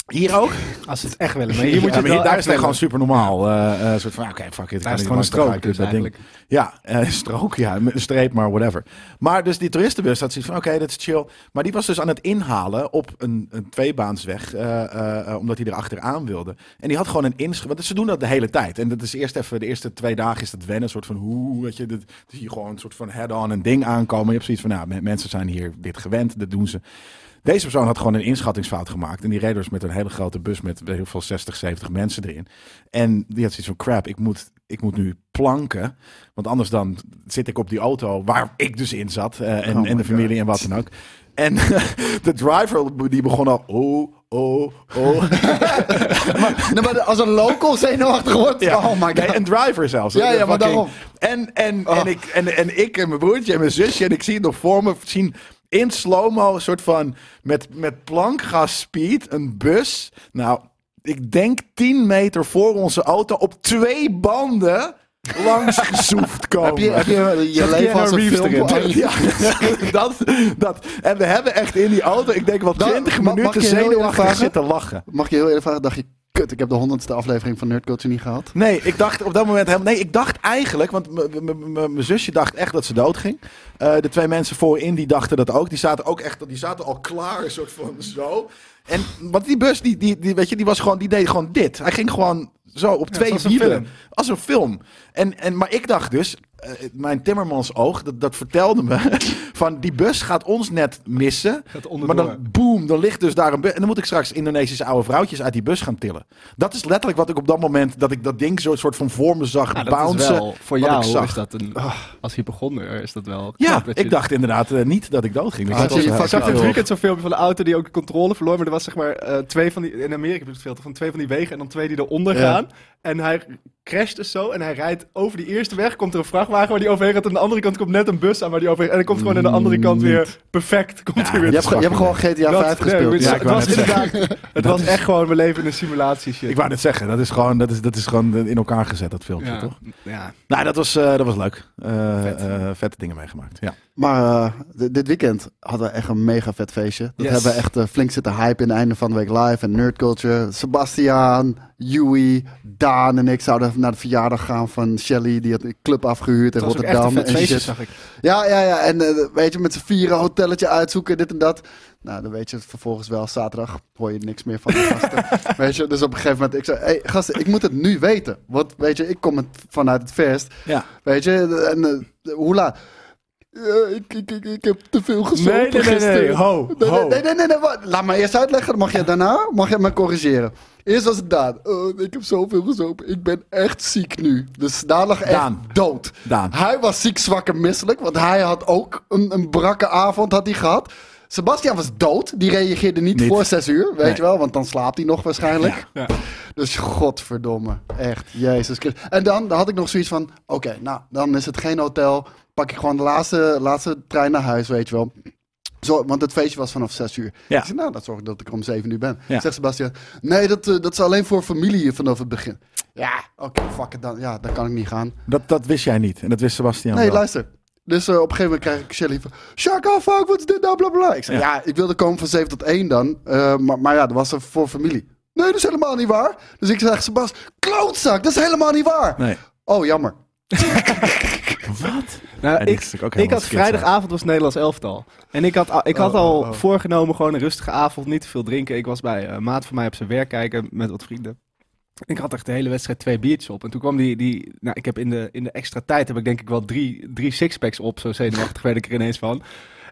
A: Hier ook?
B: Als ze het echt willen.
A: Ja,
B: Maar hier moet je
A: maar hier- daar is het
B: het
A: gewoon super normaal. eh, eh, soort van, ja, oké, fuck it. ik
B: Daar
A: kan
B: is
A: niet
B: gewoon een
A: langs, dan ga
B: strook
A: ik dus
B: dus
A: dat ding.
B: eigenlijk.
A: Ja, eh, *laughs* strook, ja, met een streep, maar whatever. Maar dus die toeristenbus had zoiets van, oké, dat is chill. Maar die was dus aan het inhalen op een, een tweebaansweg, eh, eh, eh, omdat hij erachteraan wilde. En die had gewoon een inschrijving, want ze doen dat de hele tijd. En dat is eerst even, de eerste twee dagen is dat wennen, een soort van hoe, weet je. Dat, dat zie je gewoon een soort van head-on een ding aankomen. Je hebt zoiets van, nou, me- mensen zijn hier dit gewend, dat doen ze. Deze persoon had gewoon een inschattingsfout gemaakt. En die reed dus met een hele grote bus met weet ik veel 60, 70 mensen erin. En die had zoiets van crap, ik moet, ik moet nu planken. Want anders dan zit ik op die auto waar ik dus in zat. eh, en,
C: Oh my
A: en de familie en wat dan ook. En *laughs* de driver die begon al. Oh, oh, oh.
C: Nee, maar als een local zenuwachtig wordt.
A: Ja.
C: Oh my god.
A: Nee, een driver zelfs.
C: Ja,
A: Een
C: ja, maar
A: fucking-
C: daarom.
A: En, en,
C: Oh.
A: en, ik, en, en ik en mijn broertje en mijn zusje en ik zie het nog voor me zien in slow-mo een soort van met, met plankgas speed een bus. Nou, ik denk 10 meter voor onze auto op twee banden
C: *laughs*
A: langs gesoefd komen.
C: Heb je,
B: Oh,
C: heb je je
B: Keanu
C: leven als een
B: Reeves
C: film
B: erin.
C: beantwoord?
A: Ja, *laughs* dat, dat. En we hebben echt in die auto, ik denk wel
C: Nou,
A: 20
C: mag- mag
A: minuten
C: ik je heel eerlijk
A: zenuwachtig
C: vragen?
A: zitten lachen.
C: Mag ik je heel eerlijk vragen, dacht je, kut, ik heb de honderdste aflevering van Nerd Culture niet gehad.
A: Nee, ik dacht op dat moment helemaal. Nee, ik dacht eigenlijk, want m- m- m- mijn zusje dacht echt dat ze doodging. Eh de twee mensen voorin die dachten dat ook. Die zaten ook echt, die zaten al klaar, een soort van zo. En want die bus, die, die, die, weet je, die was gewoon, die deed gewoon dit. Hij ging gewoon zo op twee
B: zoals een
A: wielen.
B: film.
A: Als een film. En, en, maar ik dacht dus, eh, mijn Timmermans oog, dat, dat vertelde me, *laughs* van die bus gaat ons net missen.
B: Gaat
A: Maar
B: onderdoor.
A: dan, boem, dan ligt dus daar een bus. En dan moet ik straks Indonesische oude vrouwtjes uit die bus gaan tillen. Dat is letterlijk wat ik op dat moment, dat ik dat ding zo soort van voor me zag
B: Nou, dat is
A: bouncen.
B: wel, voor
A: wat ik
B: jou Ah.
A: zag.
B: is dat een, als hypochonder is dat wel.
A: Ja,
B: knap dat je-
A: ik dacht inderdaad eh, niet dat ik dood ging.
C: Had je je
B: Ik
C: vast-
B: zag dit
C: Ja,
B: weekend zo'n filmpje van de auto die ook de controle verloor. Maar er was zeg maar eh, twee van die... In Amerika heb ik het filter van twee van die wegen en dan twee die eronder
C: Ja.
B: gaan. En hij crasht dus zo en hij rijdt over die eerste weg. Komt er een vrachtwagen waar die overheen gaat. Aan de andere kant komt net een bus aan waar die overheen... En dan komt gewoon aan de andere kant weer perfect. Komt hij weer
C: Je hebt, ge- je hebt gewoon GTA
B: Dat-
C: 5
B: nee,
C: gespeeld.
B: het-
A: Ja, ik
B: het
A: wou
B: was
A: net
B: inderdaad... Het was echt gewoon, we leven in een simulatie shit.
A: Ik wou net zeggen, dat is gewoon, dat is, dat is gewoon in elkaar gezet, dat filmpje,
B: ja.
A: toch?
B: Ja.
A: Nou, dat was, eh, dat was leuk. Eh,
B: Vet.
A: eh, vette dingen meegemaakt, ja.
C: Maar eh, d- dit weekend hadden we echt een mega vet feestje. Dat
B: Yes.
C: hebben we echt eh, flink zitten hype in het einde van de week live. En Nerd Culture, Sebastian, Yui, Daan en ik zouden naar de verjaardag gaan van Shelly. Die had een club afgehuurd in
B: Het was ook echt een
C: Rotterdam.
B: vet
C: en
B: feestje,
C: shit.
B: zag ik.
C: Ja, ja, ja. En eh, weet je, met z'n vieren hotelletje uitzoeken, dit en dat. Nou, dan weet je het vervolgens wel. Zaterdag hoor je niks meer van de gasten. weet je, dus op een gegeven moment, ik zei, hey, gasten, ik moet het nu weten. Want weet je, ik kom het vanuit het verst.
A: Ja.
C: Weet je, en eh, hoe laat? Eh, ik, ik, ik, ik heb te veel gezopen
B: Nee, nee, nee, nee,
C: gisteren.
A: ho,
C: Nee,
A: ho.
C: nee, nee, nee, nee, nee, wat? laat me eerst uitleggen. Dan mag jij daarna, mag jij me corrigeren. Eerst was het Daan. Eh, ik heb zoveel gezopen. Ik ben echt ziek nu. Dus Daan lag echt
A: Daan.
C: dood.
A: Daan.
C: Hij was ziek, zwak en misselijk, want hij had ook een, een brakke avond had hij gehad. Sebastian was dood, die reageerde niet,
A: Niet.
C: voor zes uur, weet
A: Nee.
C: je wel, want dan slaapt hij nog waarschijnlijk.
B: Ja.
C: Dus godverdomme, echt, jezus Christus. En dan had ik nog zoiets van, oké, nou, dan is het geen hotel, pak ik gewoon de laatste, laatste trein naar huis, weet je wel. Zo, want het feestje was vanaf 6 uur.
A: Ja.
C: Ik zei, nou, dat zorg ik dat ik er om 7 uur ben.
A: Ja.
C: Zegt Sebastian, nee, dat, eh, dat is alleen voor familie vanaf het begin. Ja, oké, fuck it dan. Ja, daar kan ik niet gaan.
A: Dat, dat wist jij niet. En dat wist Sebastian
C: Nee,
A: wel.
C: luister. Dus eh, op een gegeven moment krijg ik Shelly van... Shaka, fuck, wat is dit nou, bla, bla, bla. Ik zei, ja. ik wilde komen van 7 tot 1 dan. eh, maar, maar ja, dat was er voor familie. Nee, dat is helemaal niet waar. Dus ik zeg, Sebas, klootzak, dat is helemaal niet waar.
A: Nee.
B: Eh,
C: Oh, jammer.
A: Wat?
B: Nou,
A: Ja, die is
B: ik,
A: natuurlijk ook
B: ik
A: helemaal
B: had
A: skits, hè?
B: vrijdagavond was Nederlands elftal. En ik had, al- ik had
C: Oh,
B: al
C: oh, oh.
B: voorgenomen gewoon een rustige avond, niet te veel drinken. Ik was bij eh, een maat van mij op zijn werk kijken met wat vrienden. Ik had echt de hele wedstrijd twee biertjes op. En toen kwam die, die nou ik heb in de, in de extra tijd heb ik denk ik wel drie, drie sixpacks op. Zo zenuwachtig werd ik er ineens van.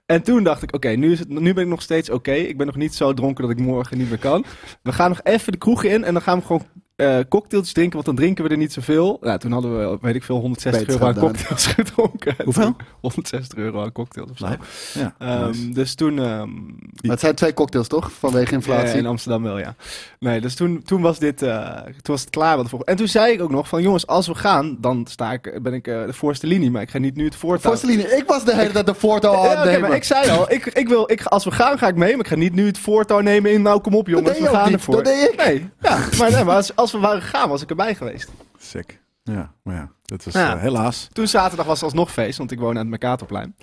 B: En toen dacht ik, oké, nu nu, is het- nu ben ik nog steeds oké. Ik ben nog niet zo dronken dat ik morgen niet meer kan. We gaan nog even de kroeg in en dan gaan we gewoon eh, cocktailtjes drinken, want dan drinken we er niet zoveel. Nou, toen hadden we, weet ik veel, 160
C: Beter
B: euro aan
C: gedaan.
B: cocktails *laughs* gedronken.
A: Hoeveel?
B: 160 euro aan cocktails of zo.
A: Nee. Ja,
B: Ehm,
A: nice.
B: Dus toen... ehm,
C: Maar het zijn twee cocktails, toch? Vanwege
B: ja,
C: inflatie.
B: in Amsterdam wel, ja. Nee, dus toen, toen was dit... eh, toen was het klaar. Wat voor... En toen zei ik ook nog van... Jongens, als we gaan, dan sta ik, ben ik eh, de voorste linie. Maar ik ga niet nu het voortouw...
C: Forceline, ik was de hele tijd de voortouw
B: Ja,
C: aan
B: oké,
C: het
B: maar
C: nemen.
B: ik zei al, ik, ik wil, ik, ga- als we gaan, ga ik mee. Maar ik ga niet nu het voortouw nemen in... Nou, kom op jongens,
C: deed je
B: we
C: ook
B: gaan
C: niet,
B: ervoor.
C: dat deed ik.
B: Nee, ja, maar, nee, maar als, als we waren gegaan, was ik erbij geweest.
A: Sick. Ja, maar ja, dat was
B: Nou Ja.
A: eh, helaas.
B: Toen zaterdag was alsnog feest, want ik woon aan het Mercatorplein.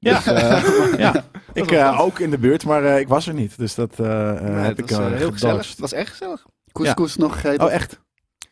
B: Dus,
A: Ja, *laughs*
B: *laughs*
A: ja. ik
B: wel
A: eh,
B: gaaf.
A: ook in de buurt, maar eh, ik was er niet. Dus dat eh, eh,
B: Nee,
A: heb
B: het
A: ik
B: was,
A: eh,
B: eh, heel gezellig.
A: gedoogst.
B: Het was echt gezellig.
C: Couscous nog gegeten.
A: Oh, echt?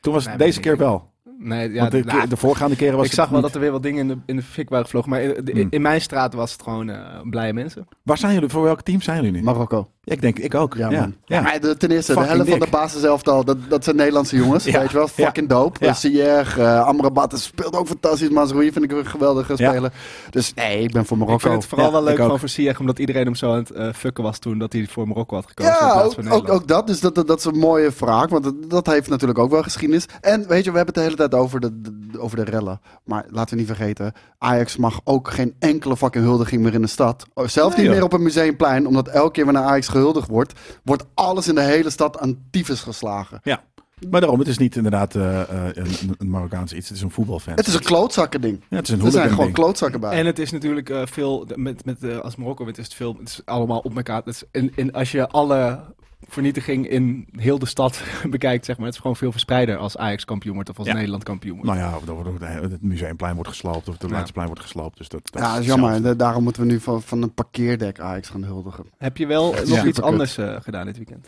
A: Toen was
B: Nee,
A: het deze
B: maar
A: keer
B: ik-
A: wel.
B: Nee, ja,
A: Want de,
B: nou,
A: keer- de voorgaande keren was
B: ik
A: het
B: zag wel
A: niet.
B: dat er weer wat dingen in de, in de fik waren gevlogen. Maar in, de-
A: Hmm.
B: in mijn straat was het gewoon eh, blije mensen.
A: Waar zijn jullie? Voor welk team zijn jullie nu?
C: Marokko.
A: Ja, ik denk, ik ook.
C: Ja,
A: Ja,
C: man.
A: ja.
C: Ja. maar de- ten eerste, de
A: Fucking
C: helft van de
A: dik.
C: basiselftal, dat, dat zijn Nederlandse jongens.
A: Ja.
C: Weet je wel, fucking dope.
A: Ja.
C: Ja. Sier, Amrabat dat speelt ook fantastisch. Mazraoui vind ik een geweldige
A: Ja.
C: speler. Dus nee, ik ben voor
B: Ik
C: Marokko.
B: vind het vooral
A: Ja,
B: wel leuk
A: ik ook.
B: gewoon voor Sieg, omdat iedereen hem zo aan het eh, fucken was toen dat hij voor Marokko had gekozen. in
C: Ja,
B: plaats van
C: ook, ook,
B: Nederland.
C: ook dat. Dus dat, dat, dat is een mooie vraag. Want dat, dat heeft natuurlijk ook wel geschiedenis. En weet je, we hebben het de hele tijd over de, de- over de rellen. Maar laten we niet vergeten, Ajax mag ook geen enkele fucking huldiging meer in de stad. Oh, Zelfs
A: Nee,
C: niet
A: joh.
C: meer op een museumplein. Omdat elke keer wanneer Ajax gehuldigd wordt, wordt alles in de hele stad aan tyfus geslagen.
A: Ja. Maar daarom, het is niet inderdaad eh, eh, een, een Marokkaans iets. Het is een voetbalfan.
C: Het is een klootzakken ding.
A: ja, het is een
C: Er zijn
A: hooligan
C: gewoon
A: ding.
C: klootzakken bij.
B: En het is natuurlijk eh, veel, met, met, eh, als Marokko wint is het veel, het is allemaal op elkaar. Het is in, in, als je alle vernietiging in heel de stad *laughs* bekijkt, zeg maar, het is gewoon veel verspreider als Ajax kampioen wordt of als
A: Ja.
B: Nederland kampioen wordt.
A: Nou ja, of er wordt- het museumplein wordt gesloopt of het
B: Ja.
A: Leidseplein wordt gesloopt. Dus dat, dat
C: ja, dat is jammer. En daarom moeten we nu van, van een parkeerdek Ajax gaan huldigen.
B: Heb je wel nog
A: Ja.
B: iets
C: Superkut.
B: anders eh, gedaan dit weekend?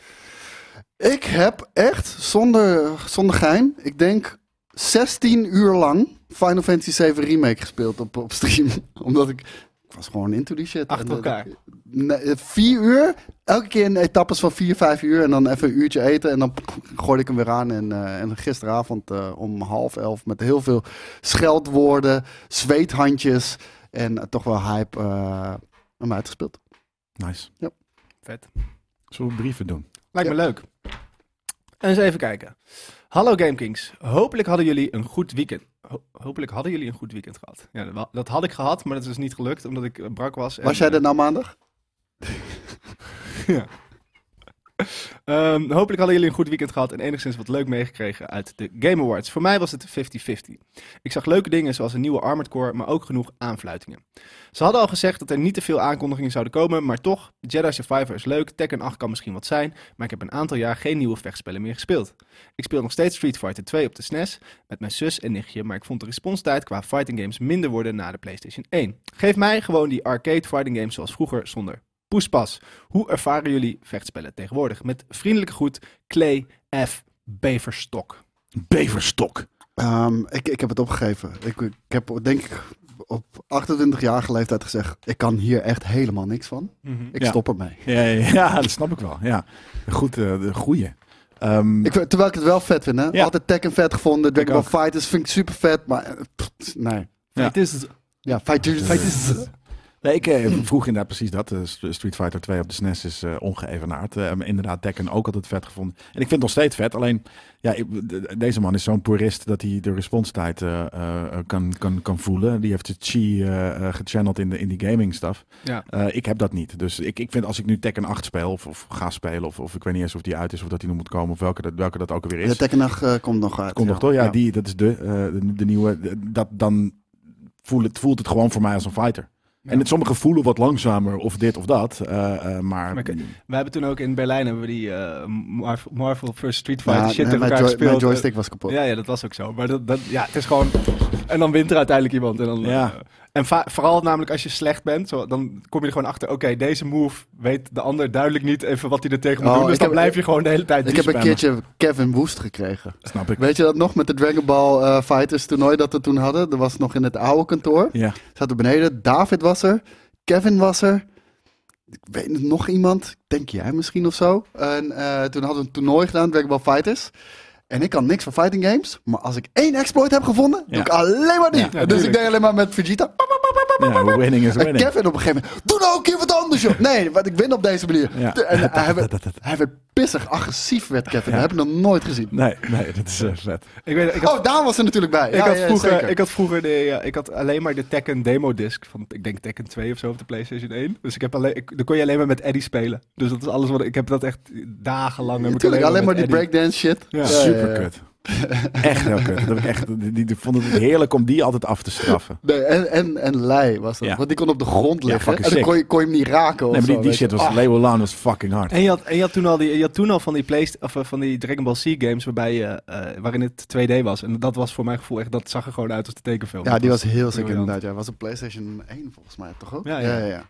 C: Ik heb echt, zonder, zonder gein, ik denk 16 uur lang Final Fantasy 7 Remake gespeeld op, op stream. *laughs* Omdat ik, ik was gewoon into die shit.
B: Achter
C: En, eh,
B: elkaar.
C: Nee, eh, vier uur, elke keer in etappes van vier, vijf uur en dan even een uurtje eten en dan gooi ik hem weer aan. En, eh, en gisteravond eh, om half elf met heel veel scheldwoorden, zweethandjes en eh, toch wel hype eh hem uitgespeeld.
A: Nice.
B: Vet.
A: Zullen we brieven doen?
B: Lijkt me leuk. Eens even kijken. Hallo GameKings. Hopelijk hadden jullie een goed weekend. Ho- hopelijk hadden jullie een goed weekend gehad. Ja, dat wa- dat had ik gehad, maar dat is dus niet gelukt omdat ik eh, brak was. en,
C: Was jij
B: eh,
C: er nou maandag?
B: Ehm, hopelijk hadden jullie een goed weekend gehad en enigszins wat leuk meegekregen uit de Game Awards. Voor mij was het 50-50. Ik zag leuke dingen zoals een nieuwe Armored Core, maar ook genoeg aanfluitingen. Ze hadden al gezegd dat er niet te veel aankondigingen zouden komen, maar toch, Jedi Survivor is leuk, Tekken 8 kan misschien wat zijn, maar ik heb een aantal jaar geen nieuwe vechtspellen meer gespeeld. Ik speel nog steeds Street Fighter 2 op de SNES met mijn zus en nichtje, maar ik vond de responstijd qua fighting games minder worden na de PlayStation 1. Geef mij gewoon die arcade fighting games zoals vroeger zonder poespas. Hoe ervaren jullie vechtspellen tegenwoordig? Met vriendelijke groet, Clay F. Beverstok.
A: Beverstok.
C: Ehm, ik, ik heb het opgegeven. Ik, ik heb denk ik op 28-jarige leeftijd gezegd, ik kan hier echt helemaal niks van.
B: Mhm.
C: Ik
A: Ja.
C: stop ermee.
A: Ja, ja, ja, dat snap ik wel. Ja. Goed, eh, de goeie. Ehm,
C: Ik, vind- terwijl ik het wel vet vind, hè.
A: Ja.
C: Altijd Tekken vet gevonden, Dragon Ball
A: ook.
C: Fighters vind ik super vet, maar eh, pff, nee.
A: Ja.
B: Het is
C: Ja, Fighters.
A: Fighters. Nee, ik eh, vroeg inderdaad precies dat. Eh, St- Street Fighter 2 op de SNES is eh, ongeëvenaard. Eh, maar inderdaad, Tekken ook altijd vet gevonden. En ik vind het nog steeds vet. Alleen, ja, ik- de- de- deze man is zo'n purist dat hij de responstijd eh, eh, kan, kan, kan voelen. Die heeft de chi eh, eh, gechanneld in, de, in die gaming stuff.
B: Ja.
A: Eh, ik heb dat niet. Dus ik, ik vind als ik nu Tekken 8 speel of, of ga spelen... Of, of ik weet niet eens of die uit is of dat die nog moet komen... of welke dat, welke dat ook alweer is.
C: Ja, Tekken 8 eh, komt nog uit.
A: Komt nog toch? Ja, Die, dat is de, eh, de, de nieuwe. Dat, dan voelt het, voelt het gewoon voor mij als een fighter.
B: Ja.
A: En het, sommige voelen wat langzamer of dit of dat. eh, eh, maar
B: Maar ik- We hebben toen ook in Berlijn hebben we die eh, Mar- Marvel vs. Street
C: Ja,
B: Fighter
C: nee,
B: shit tegen
C: mijn,
B: elkaar
C: joy-
B: gespeeld.
C: mijn joystick was kapot.
B: Ja, ja, dat was ook zo. Maar dat, dat, ja, het is gewoon... En dan wint er uiteindelijk iemand. En, dan,
A: Ja.
B: eh, en va- vooral namelijk als je slecht bent, zo, dan kom je er gewoon achter... Oké, deze move weet de ander duidelijk niet even wat hij er tegen moet
C: Oh,
B: doen. Dus
C: ik
B: dan
C: heb-
B: blijf je gewoon de hele tijd...
C: ik heb een
A: spammen.
C: keertje Kevin Woest gekregen.
A: snap ik.
C: Weet je dat nog met de Dragon Ball eh, Fighters toernooi dat we toen hadden? Dat was nog in het oude kantoor.
A: Ja.
C: Zat er beneden. David was er. Kevin was er. Ik weet niet, nog iemand. Ik Denk jij misschien of zo. En eh, toen hadden we een toernooi gedaan, Dragon Ball Fighters. En ik kan niks van fighting games. Maar als ik één exploit heb gevonden, doe
A: Ja.
C: ik alleen maar die.
A: Ja, ja,
C: dus ik
B: tuurlijk.
C: deed alleen maar met Vegeta.
A: ja, winning is
C: En
A: winning.
C: Kevin op een gegeven moment, doe nou een keer wat anders joh. Nee, want ik win op deze manier.
A: Ja.
C: En
A: *laughs*
C: hij werd, hij werd pissig, agressief werd Kevin.
A: Ja.
C: Dat heb ik nog nooit gezien.
A: Nee, nee, dat is eh, vet.
B: Ik, weet, ik had
C: Oh, Daan was er natuurlijk bij.
B: Ik,
C: Ja,
B: had
C: ja,
B: vroeger,
C: zeker.
B: ik had vroeger de, ja, ik had alleen maar de Tekken demo disc van ik denk Tekken 2 of zo op de PlayStation 1. Dus ik heb alleen, ik, dan kon je alleen maar met Eddie spelen. Dus dat is alles wat ik ik heb dat echt dagenlang. heb ik
C: Natuurlijk, alleen maar die
B: met Eddie-
C: breakdance shit.
B: Ja.
A: Super kut. Echt heel kut. Dat heb ik echt, die, die- die vonden het heerlijk om die altijd af te straffen.
C: Nee, en, en, en Lei was dat.
A: Ja.
C: Want die kon op de grond liggen.
A: fucking
C: en dan
A: sick.
C: kon je, kon je hem niet raken. Of
A: Nee, maar die,
C: zo,
A: die
C: weet
A: shit
C: je.
A: was,
C: Ah,
A: Leo Laan was fucking hard.
B: En je, had, en je had toen al die, je had toen al van die Play, of eh, van die Dragon Ball Z games waarbij je, eh, waarin het 2D was. En dat was voor mijn gevoel echt, dat zag er gewoon uit als de tekenfilm.
C: ja,
B: Dat
C: die was heel sick
B: briljant.
C: inderdaad. Ja, was op PlayStation 1 volgens mij toch ook?
B: Ja, ja.
C: ja.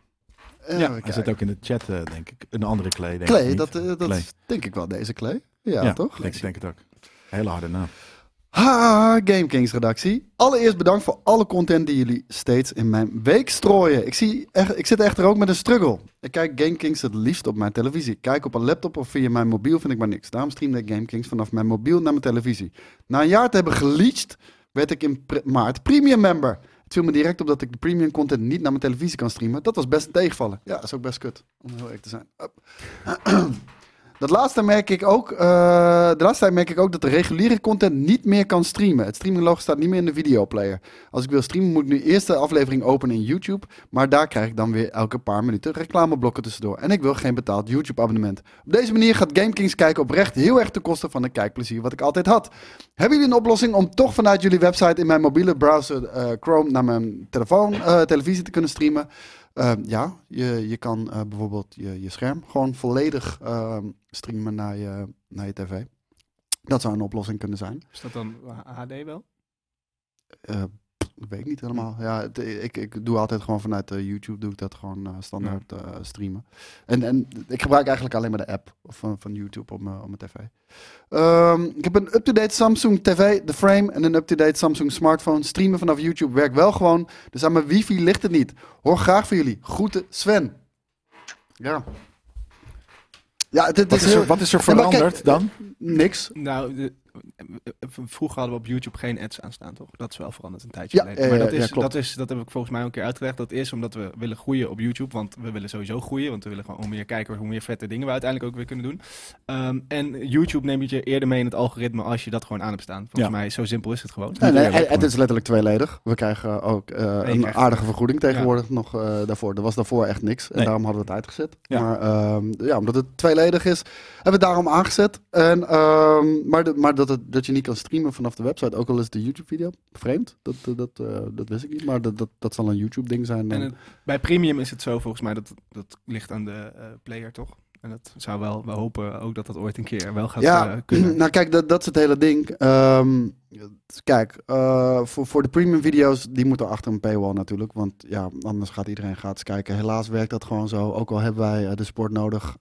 C: Eh,
A: Ja,
C: even
A: hij zit
C: kijken.
A: ook in de chat, eh, denk ik. Een andere Clay, denk ik
C: Clay,
A: niet.
C: dat, eh, dat
A: Clay.
C: is denk ik wel deze Clay. Ja, toch?
A: Ik denk, denk het ook. Hele harde naam.
C: Ha, GameKings redactie. Allereerst bedankt voor alle content die jullie steeds in mijn week strooien. Ik, zie echt, ik zit echter ook met een struggle. Ik kijk GameKings het liefst op mijn televisie. Kijk op een laptop of via mijn mobiel vind ik maar niks. Daarom streamde ik GameKings vanaf mijn mobiel naar mijn televisie. Na een jaar te hebben geleached, werd ik in pre- maart premium member. Het viel me direct op dat ik de premium content niet naar mijn televisie kan streamen. Dat was best een tegenvallen. Ja, is ook best kut. Om heel eerlijk te zijn. Up. Dat laatste merk ik ook. eh, de laatste tijd merk ik ook dat de reguliere content niet meer kan streamen. Het streaminglogo staat niet meer in de videoplayer. Als ik wil streamen, moet ik nu eerst de aflevering openen in YouTube. Maar daar krijg ik dan weer elke paar minuten reclameblokken tussendoor. En ik wil geen betaald YouTube-abonnement. Op deze manier gaat GameKings kijken oprecht heel erg ten koste van het kijkplezier wat ik altijd had. Hebben jullie een oplossing om toch vanuit jullie website in mijn mobiele browser eh, Chrome naar mijn telefoon, eh, televisie te kunnen streamen? Eh, ja, je, je kan eh, bijvoorbeeld je, je scherm gewoon volledig eh, streamen naar je, naar je tv. Dat zou een oplossing kunnen zijn.
B: Is dat dan HD wel?
C: Eh, Ik weet niet helemaal. Ja, het- ik, ik doe altijd gewoon vanuit eh, YouTube doe ik dat gewoon eh, standaard eh, streamen. En, en ik gebruik eigenlijk alleen maar de app van, van YouTube op mijn, op mijn tv. Ehm, ik heb een up-to-date Samsung TV, de frame, en een up-to-date Samsung smartphone. Streamen vanaf YouTube werkt wel gewoon. Dus aan mijn wifi ligt het niet. Hoor graag van jullie. Groeten, Sven. Ja. Ja, dit
A: Wat
C: is,
A: is
C: heel-
A: er, wat is er
C: Ja, maar kijk,
A: veranderd dan?
C: niks.
B: Nou, de- eh, vroeger hadden we op YouTube geen ads aanstaan, toch? Dat is wel veranderd een tijdje
C: Ja,
B: geleden.
C: ja,
B: maar
C: ja,
B: dat,
C: ja,
B: is,
C: klopt.
B: dat, is, dat heb ik volgens mij al een keer uitgelegd. Dat is omdat we willen groeien op YouTube. Want we willen sowieso groeien. Want we willen gewoon hoe meer kijkers, hoe meer vette dingen we uiteindelijk ook weer kunnen doen. Ehm, en YouTube neemt je eerder mee in het algoritme als je dat gewoon aan hebt staan. Volgens
A: Ja.
B: mij, zo simpel is het gewoon.
C: Nee, nee,
A: Ja,
C: het is letterlijk tweeledig. We krijgen eh, ook eh, een
B: krijgt-
C: aardige vergoeding tegenwoordig nog eh, daarvoor. Er was daarvoor echt niks. En
A: Nee.
C: daarom hadden we het uitgezet.
A: Ja.
C: Maar ehm, ja, omdat het tweeledig is, hebben we het daarom aangezet. En, ehm, maar de- maar dat, het, dat je niet kan streamen vanaf de website, ook al is het een YouTube-video. Vreemd, dat, dat, dat, eh, dat wist ik niet. Maar dat, dat, dat zal een YouTube-ding zijn. dan.
B: En het- bij premium is het zo volgens mij. Dat, dat ligt aan de eh, player, toch? En dat zou wel, we hopen ook dat dat ooit een keer wel gaat
C: ja, *clears throat*
B: eh, kunnen.
C: nou kijk, dat, dat is het hele ding. Ehm, het- kijk, eh, voor, voor de premium video's, die moeten achter een paywall natuurlijk. Want ja, anders gaat iedereen gratis kijken. Helaas werkt dat gewoon zo. Ook al hebben wij eh, de sport nodig,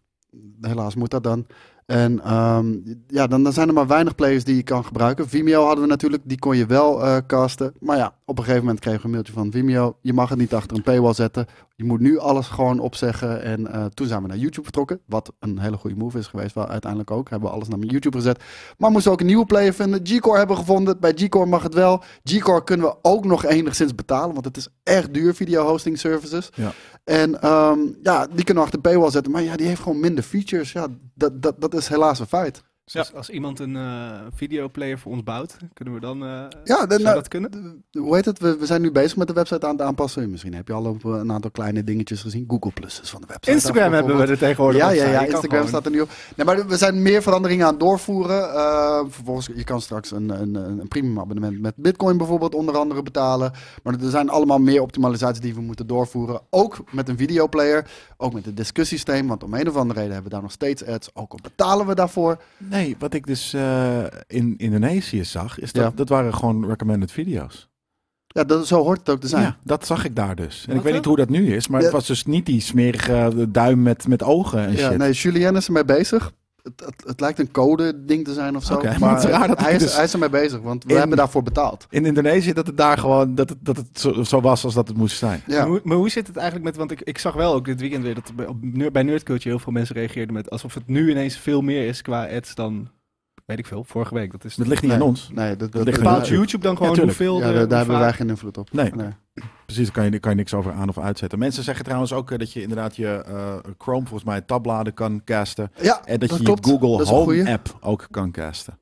C: helaas moet dat dan. En ehm, ja, dan, dan zijn er maar weinig players die je kan gebruiken. Vimeo hadden we natuurlijk, die kon je wel eh, casten. Maar ja, op een gegeven moment kregen we een mailtje van Vimeo. Je mag het niet achter een paywall zetten. Je moet nu alles gewoon opzeggen. En eh, toen zijn we naar YouTube vertrokken. Wat een hele goede move is geweest. Wel, uiteindelijk ook hebben we alles naar YouTube gezet. Maar moesten we ook een nieuwe player vinden. G-Core hebben we gevonden. Bij G-Core mag het wel. G-Core kunnen we ook nog enigszins betalen. Want het is echt duur, video hosting services.
A: Ja.
C: En ehm, ja, die kunnen we achter paywall zetten. Maar ja, die heeft gewoon minder features. Ja, dat, dat, dat is helaas een feit.
B: Dus als, als iemand een eh, videoplayer voor ons bouwt, kunnen we dan... eh,
C: Ja, dan-
B: zou dat kunnen?
C: De- Hoe heet het? We, we zijn nu bezig met de website aan het aanpassen. Misschien heb je al op eh, een aantal kleine dingetjes gezien. Google Plus is van de website.
B: Instagram hebben we er tegenwoordig
C: Ja,
B: op
C: ja,
B: staan.
C: ja,
B: Je kan
C: Instagram
B: gewoon-
C: staat er nu op. Nee, maar we zijn meer veranderingen aan het doorvoeren. Eh, vervolgens, je kan straks een, een, een een premium abonnement met bitcoin bijvoorbeeld onder andere betalen. Maar er zijn allemaal meer optimalisaties die we moeten doorvoeren. Ook met een videoplayer, ook met het discussiesysteem. Want om een of andere reden hebben we daar nog steeds ads. Ook al betalen we daarvoor.
A: Nee, wat ik dus eh, in Indonesië zag, is dat,
C: Ja.
A: dat waren gewoon recommended video's.
C: Ja, dat, zo hoort het ook te zijn.
A: Ja, dat zag ik daar dus. En ik
B: Wat
A: weet
B: dan?
A: niet hoe dat nu is, maar
C: Ja.
A: het was dus niet die smerige eh, duim met, met ogen en
C: Ja,
A: shit.
C: nee, Julien is ermee bezig. Het, het, het lijkt een code-ding te zijn of zo.
A: Oké, *laughs* maar
C: maar
A: het is raar dat
C: hij,
A: ik
C: is,
A: dus-
C: hij is ermee bezig, want we
A: In-
C: hebben daarvoor betaald.
A: In Indonesië dat het daar gewoon dat het, dat het zo, zo was als dat het moest zijn. Dus
C: Ja.
B: Maar, hoe, maar hoe zit het eigenlijk met... Want ik, ik zag wel ook dit weekend weer dat er bij, op, Nerd- bij Nerd Culture heel veel mensen reageerden met... alsof het nu ineens veel meer is qua ads dan, weet ik veel, vorige week. Dat is
A: Dat ligt niet
C: Nee.
A: aan ons.
C: Nee, dat, dat,
A: ligt
B: bepaalt
A: aan
C: ja,
B: YouTube dan gewoon
A: Ja, tuurlijk.
B: hoeveel...
C: daar-
B: de-
C: daar
B: hoe
C: hebben wij
B: vaak-
C: geen invloed op.
A: Nee.
C: Nee.
A: Precies, daar kan je, kan je niks over aan of uitzetten. Mensen zeggen trouwens ook eh, dat je inderdaad je eh, Chrome volgens mij tabbladen kan casten.
C: Ja,
A: En dat,
C: Dat
A: je
C: klopt.
A: je
C: Dat
A: Google
C: is een goeie.
A: Home app ook kan casten.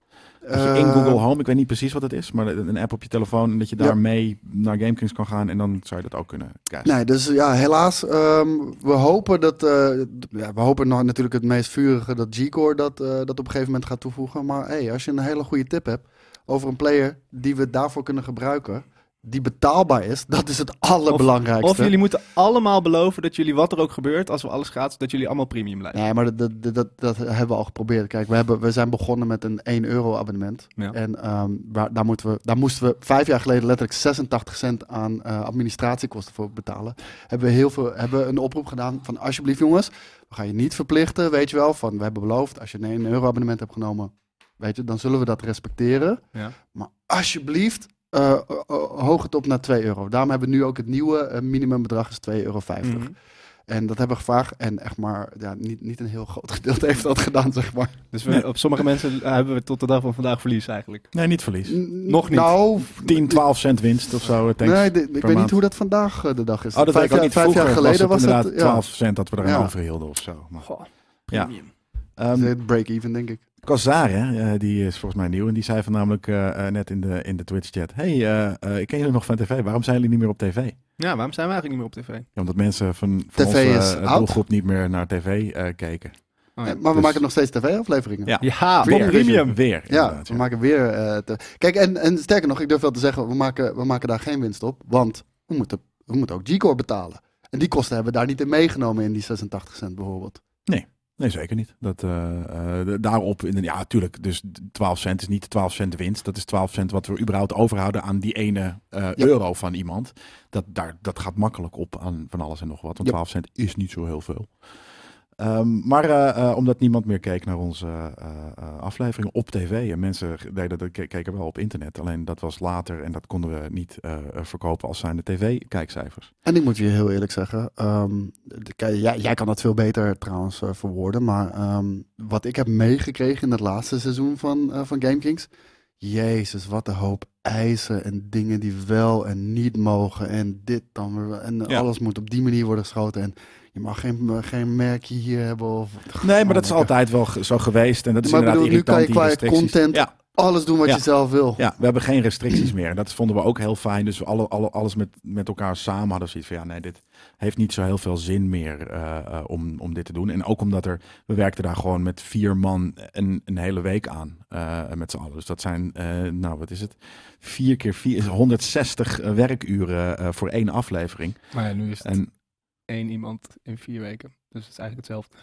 A: Dat je in
C: eh,
A: Google Home, ik weet niet precies wat het is, maar een app op je telefoon. En dat je
C: Ja.
A: daarmee naar GameKings kan gaan en dan zou je dat ook kunnen casten.
C: Nee, dus ja, helaas. ehm, we hopen dat. eh, d- ja, we hopen nog natuurlijk het meest vurige dat G-Core dat, eh, dat op een gegeven moment gaat toevoegen. Maar hey, als je een hele goede tip hebt over een player die we daarvoor kunnen gebruiken, die betaalbaar is, *laughs* dat is het allerbelangrijkste.
B: Of jullie moeten allemaal beloven dat jullie, wat er ook gebeurt, als we alles gratis, dat jullie allemaal premium blijven.
C: Nee, maar dat, dat, dat, dat hebben we al geprobeerd. Kijk, we, hebben, we zijn begonnen met een 1 euro abonnement.
B: Ja.
C: En ehm, waar, daar, moeten we, daar moesten we vijf jaar geleden letterlijk 86 cent aan eh, administratiekosten voor betalen. Hebben we heel veel, hebben we een oproep gedaan van alsjeblieft jongens, we gaan je niet verplichten, weet je wel. Van, we hebben beloofd, als je een 1 euro abonnement hebt genomen, weet je, dan zullen we dat respecteren.
B: Ja.
C: Maar alsjeblieft, eh, o- o- hoog het op naar 2 euro. Daarom hebben we nu ook het nieuwe eh, minimumbedrag is 2,50 euro.
B: Mhm.
C: En dat hebben we gevraagd. En echt maar, ja, niet, niet een heel groot *laughs* gedeelte heeft dat gedaan, zeg maar.
B: Dus we, op sommige mensen eh, hebben we tot de dag van vandaag verlies eigenlijk.
A: Nee, niet verlies.
B: Nog niet.
C: Nou,
A: 10, 12 cent winst of zo. eh, Tanks.
C: nee, de- ik weet
A: maand.
C: niet hoe dat vandaag eh, de dag is.
A: oh, dat weet ik ook
C: jaar,
A: niet.
C: vijf jaar
A: Vroeger
C: geleden was
A: was het
C: het,
A: inderdaad
C: ja,
A: 12 cent dat we eraan
C: Ja.
A: overhielden of zo. Maar, Ja.
B: premium.
A: ehm,
C: het break-even, denk ik.
A: Kazar, hè, eh, die is volgens mij nieuw. En die zei van namelijk eh, eh, net in de, in de Twitch-chat... hey, eh, eh, ik ken jullie nog van tv. Waarom zijn jullie niet meer op tv?
B: Ja, waarom zijn we eigenlijk niet meer op tv?
A: Ja, omdat mensen van, van
C: TV
A: onze
C: is
A: eh,
C: oud.
A: doelgroep niet meer naar tv eh, keken.
B: Oh,
C: Eh,
B: ja.
C: maar we
A: Dus-
C: maken nog steeds tv-afleveringen.
A: Ja.
B: Ja,
C: Weer.
A: Premium.
B: op premium.
A: Weer,
C: Ah, Ja,
A: inderdaad,
C: we maken weer... eh, te- Kijk, en, en sterker nog, ik durf wel te zeggen, we maken, we maken daar geen winst op. Want we moeten, we moeten ook G-Core betalen. En die kosten hebben we daar niet in meegenomen in die 86 cent bijvoorbeeld.
A: Nee, zeker niet. Dat, eh, eh, daarop, in, ja, tuurlijk. Dus 12 cent is niet 12 cent winst. Dat is 12 cent wat we überhaupt overhouden aan die ene eh,
C: Ja.
A: euro van iemand. Dat, daar, dat gaat makkelijk op aan van alles en nog wat. Want
C: Ja.
A: 12 cent is niet zo heel veel. Ehm, maar eh, eh, omdat niemand meer keek naar onze eh, eh, afleveringen op tv. En mensen deden, dat ke- keken wel op internet. Alleen dat was later en dat konden we niet eh, eh, verkopen als zijnde tv-kijkcijfers.
C: En ik moet je heel eerlijk zeggen, ehm, de- kijk, jij, jij kan dat veel beter trouwens eh, verwoorden, maar ehm, wat ik heb meegekregen in het laatste seizoen van, eh, van Game Kings, jezus, wat een hoop eisen en dingen die wel en niet mogen en dit dan weer wel. en
A: Ja.
C: alles moet op die manier worden geschoten en je mag geen, eh, geen merkje hier hebben of
A: Nee, maar dat is
C: lekker.
A: altijd wel ge- zo geweest. En dat is
C: Maar ik
A: eh, inderdaad
C: bedoel, nu kan je
A: irritant, die
C: qua
A: restricties.
C: content
A: Ja.
C: alles doen wat
A: Ja.
C: je zelf wil.
A: Ja, we hebben geen restricties meer. En dat vonden we ook heel fijn. Dus we alle, alle, alles met, met elkaar samen hadden zoiets van... ja, nee, dit heeft niet zo heel veel zin meer eh, eh, om, om dit te doen. En ook omdat er... We werkten daar gewoon met vier man een, een hele week aan. eh, met z'n allen. Dus dat zijn, eh, nou, wat is het? Vier keer vier... is 160 werkuren eh, voor één aflevering.
B: Maar ja, nu is het
A: En
B: één iemand in vier weken. Dus het is eigenlijk *laughs* hetzelfde.